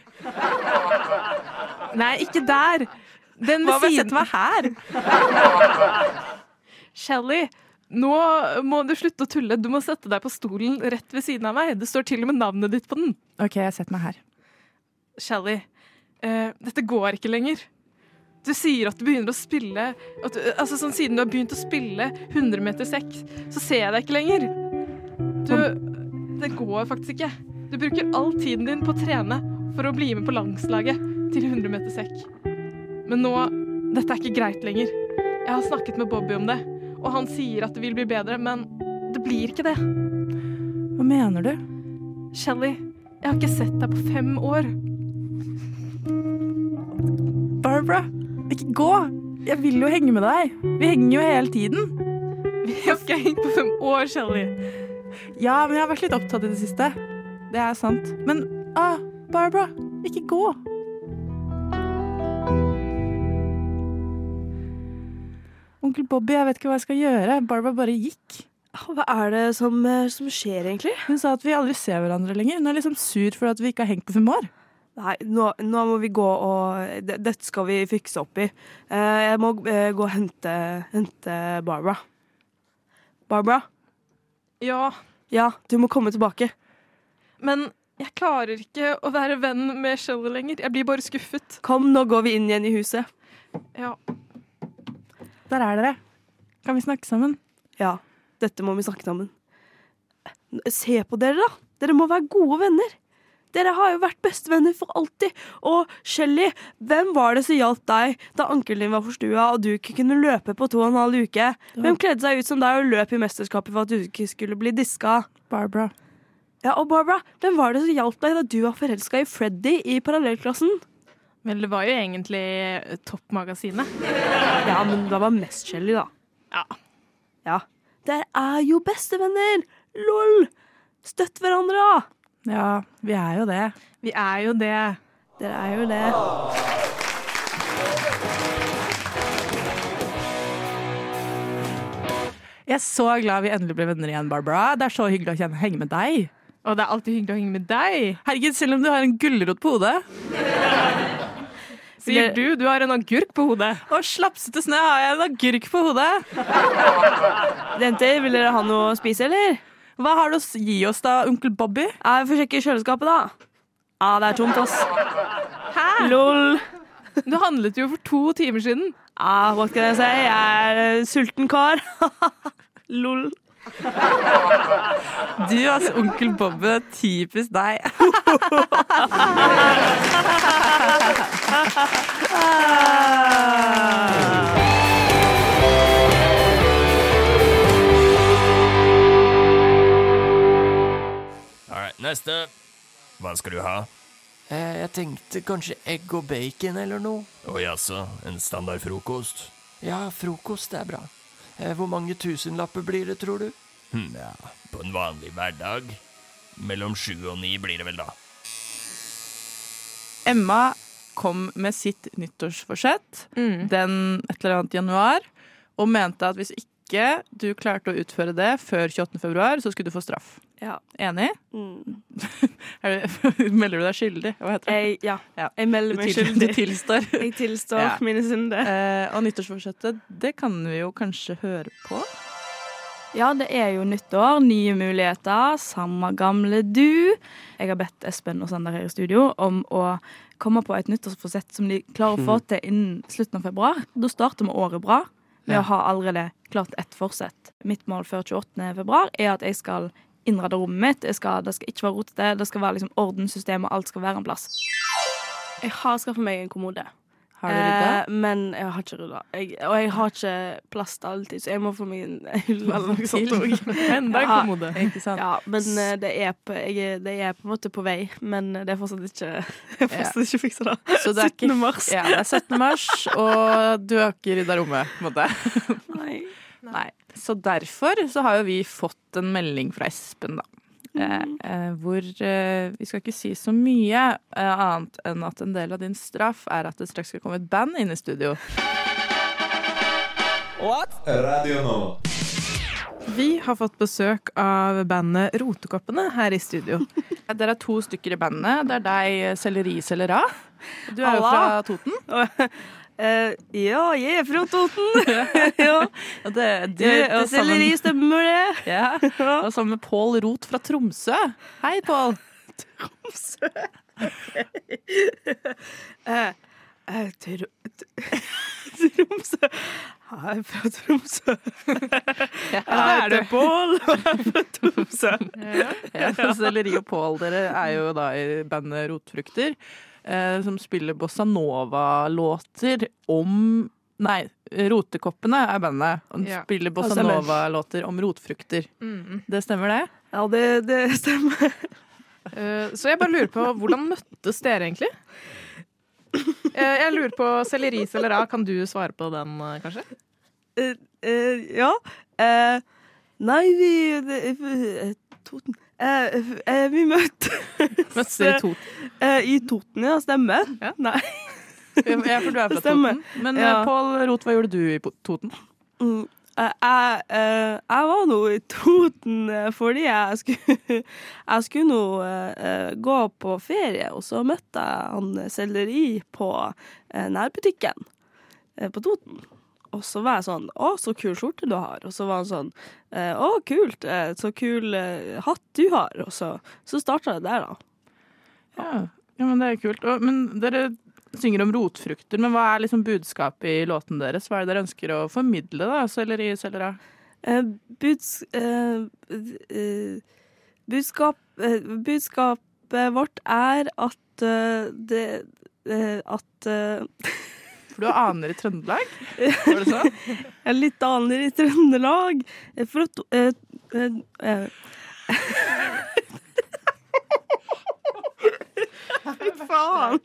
Nei, ikke der. Den ved siden. Hva om jeg setter meg her? Shelly, nå må du slutte å tulle. Du må sette deg på stolen rett ved siden av meg. Det står til og med navnet ditt på den. OK, jeg setter meg her. Shelly, eh, dette går ikke lenger. Du sier at du begynner å spille at du, altså sånn Siden du har begynt å spille 100 meter sekk, så ser jeg deg ikke lenger. Du Det går faktisk ikke. Du bruker all tiden din på å trene for å bli med på landslaget til 100 meter sekk. Men nå Dette er ikke greit lenger. Jeg har snakket med Bobby om det, og han sier at det vil bli bedre, men det blir ikke det. Hva mener du? Shelly, jeg har ikke sett deg på fem år. Barbara, ikke gå! Jeg vil jo henge med deg. Vi henger jo hele tiden. Vi har ikke hengt på fem år, Shelly. Ja, men jeg har vært litt opptatt i det siste. Det er sant. Men ah, Barbara, ikke gå. Onkel Bobby, jeg vet ikke hva jeg skal gjøre. Barbara bare gikk. Ah, Hva er det som, eh, som skjer, egentlig? Hun sa at vi aldri ser hverandre lenger. Hun er liksom sur for at vi ikke har hengt på fem år. Nei, nå, nå må vi gå og det- Dette skal vi fikse opp i. Eh, Jeg må eh, gå og hente, hente Barbara. Barbara? Ja, Ja, du må komme tilbake. men jeg klarer ikke å være venn med Shelly lenger. Jeg blir bare skuffet. Kom, nå går vi inn igjen i huset. Ja. Der er dere. Kan vi snakke sammen? Ja, dette må vi snakke sammen. Se på dere, da! Dere må være gode venner. Dere har jo vært bestevenner for alltid. Og Shelly, hvem var det som hjalp deg da ankelen din var forstua og du ikke kunne løpe på to og en halv uke? Hvem kledde seg ut som deg og løp i mesterskapet for at du ikke skulle bli diska? Barbara. Ja, og Barbara, hvem var det som hjalp deg da du var forelska i Freddy i parallellklassen? Vel, det var jo egentlig eh, Toppmagasinet. Ja, men det var mest Shelly, da. Ja. Ja. Dere er jo bestevenner! LOL! Støtt hverandre, da! Ja, vi er jo det. Vi er jo det. Dere er jo det. Jeg er så glad vi endelig ble venner igjen, Barbara. Det er så hyggelig å kjenne, henge med deg. Og det er alltid hyggelig å henge med deg. Herregud, selv om du har en gulrot på hodet. Sier du, du har en agurk på hodet. Og slapsete snø har jeg en agurk på hodet. Jenter, vil dere ha noe å spise, eller? Hva har du å gi oss da, onkel Bobby? Ja, Vi får sjekke kjøleskapet, da. Ja, det er tomt, ass. Hæ? Lol. Ah. Du handlet jo for to timer siden. Ja, what can I si? Jeg er eh, sulten kar. Lol. Du, altså, onkel Bobby. Typisk deg. Ah. All right, neste. Hva skal du ha? Eh, Jeg tenkte kanskje egg og bacon eller noe. Å jaså, en standard frokost? Ja, frokost er bra. Eh, Hvor mange tusenlapper blir det, tror du? Hm, ja, på en vanlig hverdag. Mellom sju og ni blir det vel, da. Emma kom med sitt nyttårsforsett Mm. den et eller annet januar, og mente at hvis ikke du klarte å utføre det før 28. februar, så skulle du få straff. Ja. Enig? Mm. Er du, melder du deg skyldig? Hva heter det? Jeg, ja. jeg melder meg Du til- skyldig. Du tilstår. Jeg tilstår mine synder. Eh, og nyttårsforsettet, det kan vi jo kanskje høre på. Ja, det er jo nyttår, nye muligheter, samme gamle du. Jeg har bedt Espen og Sander her i studio om å komme på et nyttårsforsett som de klarer å få til innen slutten av februar. Da starter vi året bra med Ja. å ha allerede klart ett forsett. Mitt mål før 28. februar er at jeg skal innrede rommet mitt. Jeg skal, det skal ikke være rotete, det skal være liksom ordenssystem, og alt skal være en plass. Jeg har skaffet meg en kommode. Har du rydda? Eh, men jeg har ikke rydda. Jeg, og jeg har ikke plass til alltid, så jeg må få meg en hylle eller noe sånt Til. også. Enda en Ja. kommode. Ikke sant? Ja, men eh, det er, på, jeg, er- det er på en måte på vei, men det er fortsatt ikke Jeg har fortsatt ikke fiksa det. Så det er ikke- 17. mars. Ja, det er 17. mars, og du har ikke rydda rommet, på en måte. Nei. Nei. Så derfor så har jo vi fått en melding fra Espen, da. Eh, Mhm. eh, hvor eh, vi skal ikke si så mye eh, annet enn at en del av din straff er at det straks skal komme et band inn i studio. Radio Nova. Vi har fått besøk av bandet Rotekoppene her i studio. Dere er to stykker i bandet. Det er deg, eh, Selleri Sellera. Du er jo Halla. fra Toten. Eh, ja, jeg er fra Toten. ja. Det, Du, det selleri stemmer det. Ja. Og sammen med Pål Rot fra Tromsø. Hei, Pål. Tromsø. Eh, eh, Tr- Tr- Tromsø Ja, Jeg er fra Tromsø. Jeg er du. heter Pål, og jeg er fra Tromsø. Ja, så Selleri og Pål, dere er jo da i bandet Rotfrukter, eh, som spiller bossa nova-låter om Nei, Rotekoppene er bandet. Og de Ja. spiller Ja, bossa stemmer. nova-låter om rotfrukter. Mm. Det stemmer, det? Ja, det, stemmer. Eh, så jeg bare lurer på, hvordan møttes dere egentlig? Eh, Jeg lurer på selleri, sellera, kan du svare på den, eh, kanskje? Eh, eh, ja. Eh, nei, vi det- eh, Toten Eh, eh, Vi møtte Møttes dere i Toten? Eh, I Toten, ja. Stemmer. Nei. Ja, for du er fra Stemmer. Toten. Men Ja. eh, Pål Rot, hva gjorde du i Po- Toten? Mm. Eh, Jeg, eh, jeg var nå i Toten eh, fordi jeg skulle, jeg skulle nå eh, eh, gå på ferie, og så møtte jeg han eh, selleri på eh, nærbutikken eh, på Toten. Og så var jeg sånn 'Å, så kul skjorte du har.' Og så var han sånn eh, 'Å, kult. eh, Så kul eh, hatt du har.' Og så, så starta det der, da. Ja. ja, men det er kult. Og, men dere synger om rotfrukter, men hva er liksom budskapet i låten deres? Hva er det dere ønsker å formidle, da, altså, Selleri Sellera? Eh, buds, eh, eh, budskap, eh, budskapet vårt er at eh, det eh, At eh, For du har aner i Trøndelag? Var det sånn? Jeg er litt aner i Trøndelag. Eh, For at eh, eh, eh, Fy faen!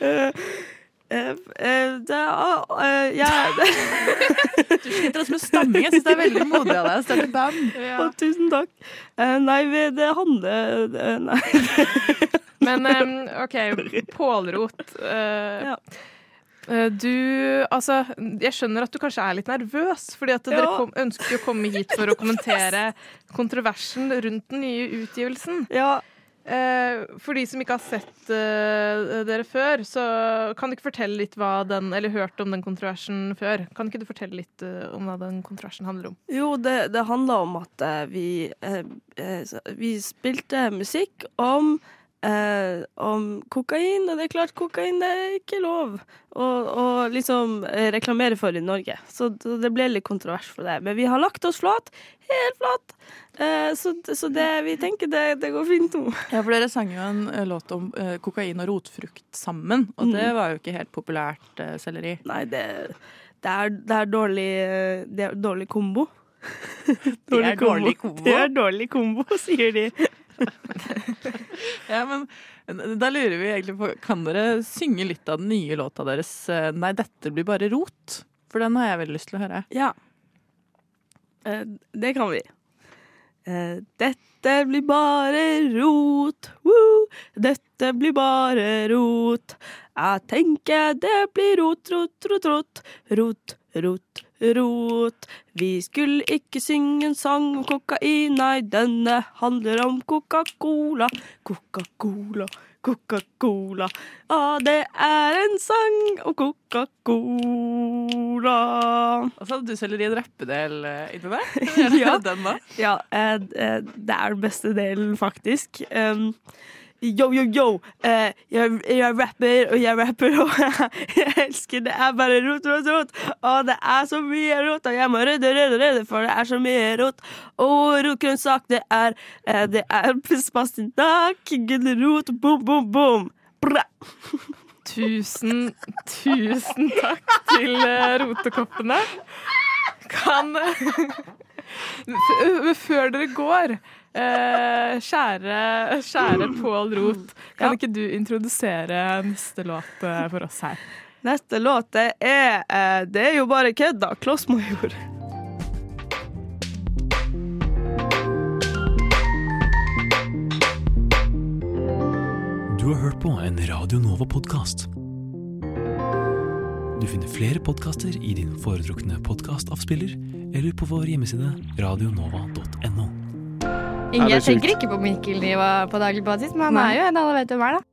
Eh, eh, eh, det er å, eh, jeg- Du sliter altså med stamming. Jeg syns det er veldig modig av deg å starte band. Å, tusen takk. Eh, nei, vi- det handler eh, Nei. Men eh, OK, pålrot. eh, eh, Du Altså, jeg skjønner at du kanskje er litt nervøs, fordi at dere Ja. kom, ønsket jo å komme hit for å kommentere kontroversen rundt den nye utgivelsen. Eh, For de som ikke har sett eh, dere før, så kan du ikke fortelle litt hva den Eller hørt om den kontroversen før. Kan ikke du fortelle litt eh, om hva den kontroversen handler om? Jo, det, det handla om at eh, vi, eh, eh, så- vi spilte musikk om, eh, om kokain, og det er klart kokain det er ikke lov å, å liksom eh, reklamere for i Norge. Så d- det ble litt kontrovers for det. Men vi har lagt oss flat, helt flat. Eh, så, så det vi tenker, det, det går fint nå. Ja, for dere sang jo en eh, låt om eh, kokain og rotfrukt sammen, og det Mm. var jo ikke helt populært eh, selleri. Nei, det, det, er, det er dårlig eh, Det er dårlig kombo. er dårlig kombo. Det er dårlig kombo, sier de. Ja, men da lurer vi egentlig på Kan dere synge litt av den nye låta deres eh, 'Nei, dette blir bare rot'? For den har jeg veldig lyst til å høre. Ja. Eh, det kan vi. Eh, dette blir bare rot, woo. dette blir bare rot. Jeg tenker det blir rot, rot, rot, rot. Rot, rot, rot. Vi skulle ikke synge en sang om kokain, nei, denne handler om Coca-Cola. Coca-Cola, Coca-Cola. Ja, det er en sang om Coca-Cola. Altså, hadde du selleri en rappedel eh, inni der? Ja. Den da? Ja, eh, d- eh, det er den beste delen, faktisk. Um, yo, yo, yo! Eh, jeg, jeg rapper, og jeg rapper, og jeg elsker det er bare rot, rot, rot. Og det er så mye rot, og jeg må rydde, rydde, rydde, for det er så mye rot. Og rotgrønnsak, det er eh, Det er spastinakk, gulrot, bom, bom, bom. Bra! Tusen, tusen takk til eh, rotekoppene. Kan eh, F- Men før dere går, eh, kjære, kjære Pål Rot, kan ikke du introdusere neste låt eh, for oss her? Neste låt det er eh, Det er jo bare kødd, da. Klossmajor. Du har hørt på en Radio Nova-podkast. Du finner flere podkaster i din foretrukne podkastavspiller eller på vår hjemmeside radionova.no. Inge, det er jeg tenker sjukt. ikke på Mikkel Niva på daglig basis, men han Nei. er jo en alle vet hvem er, da.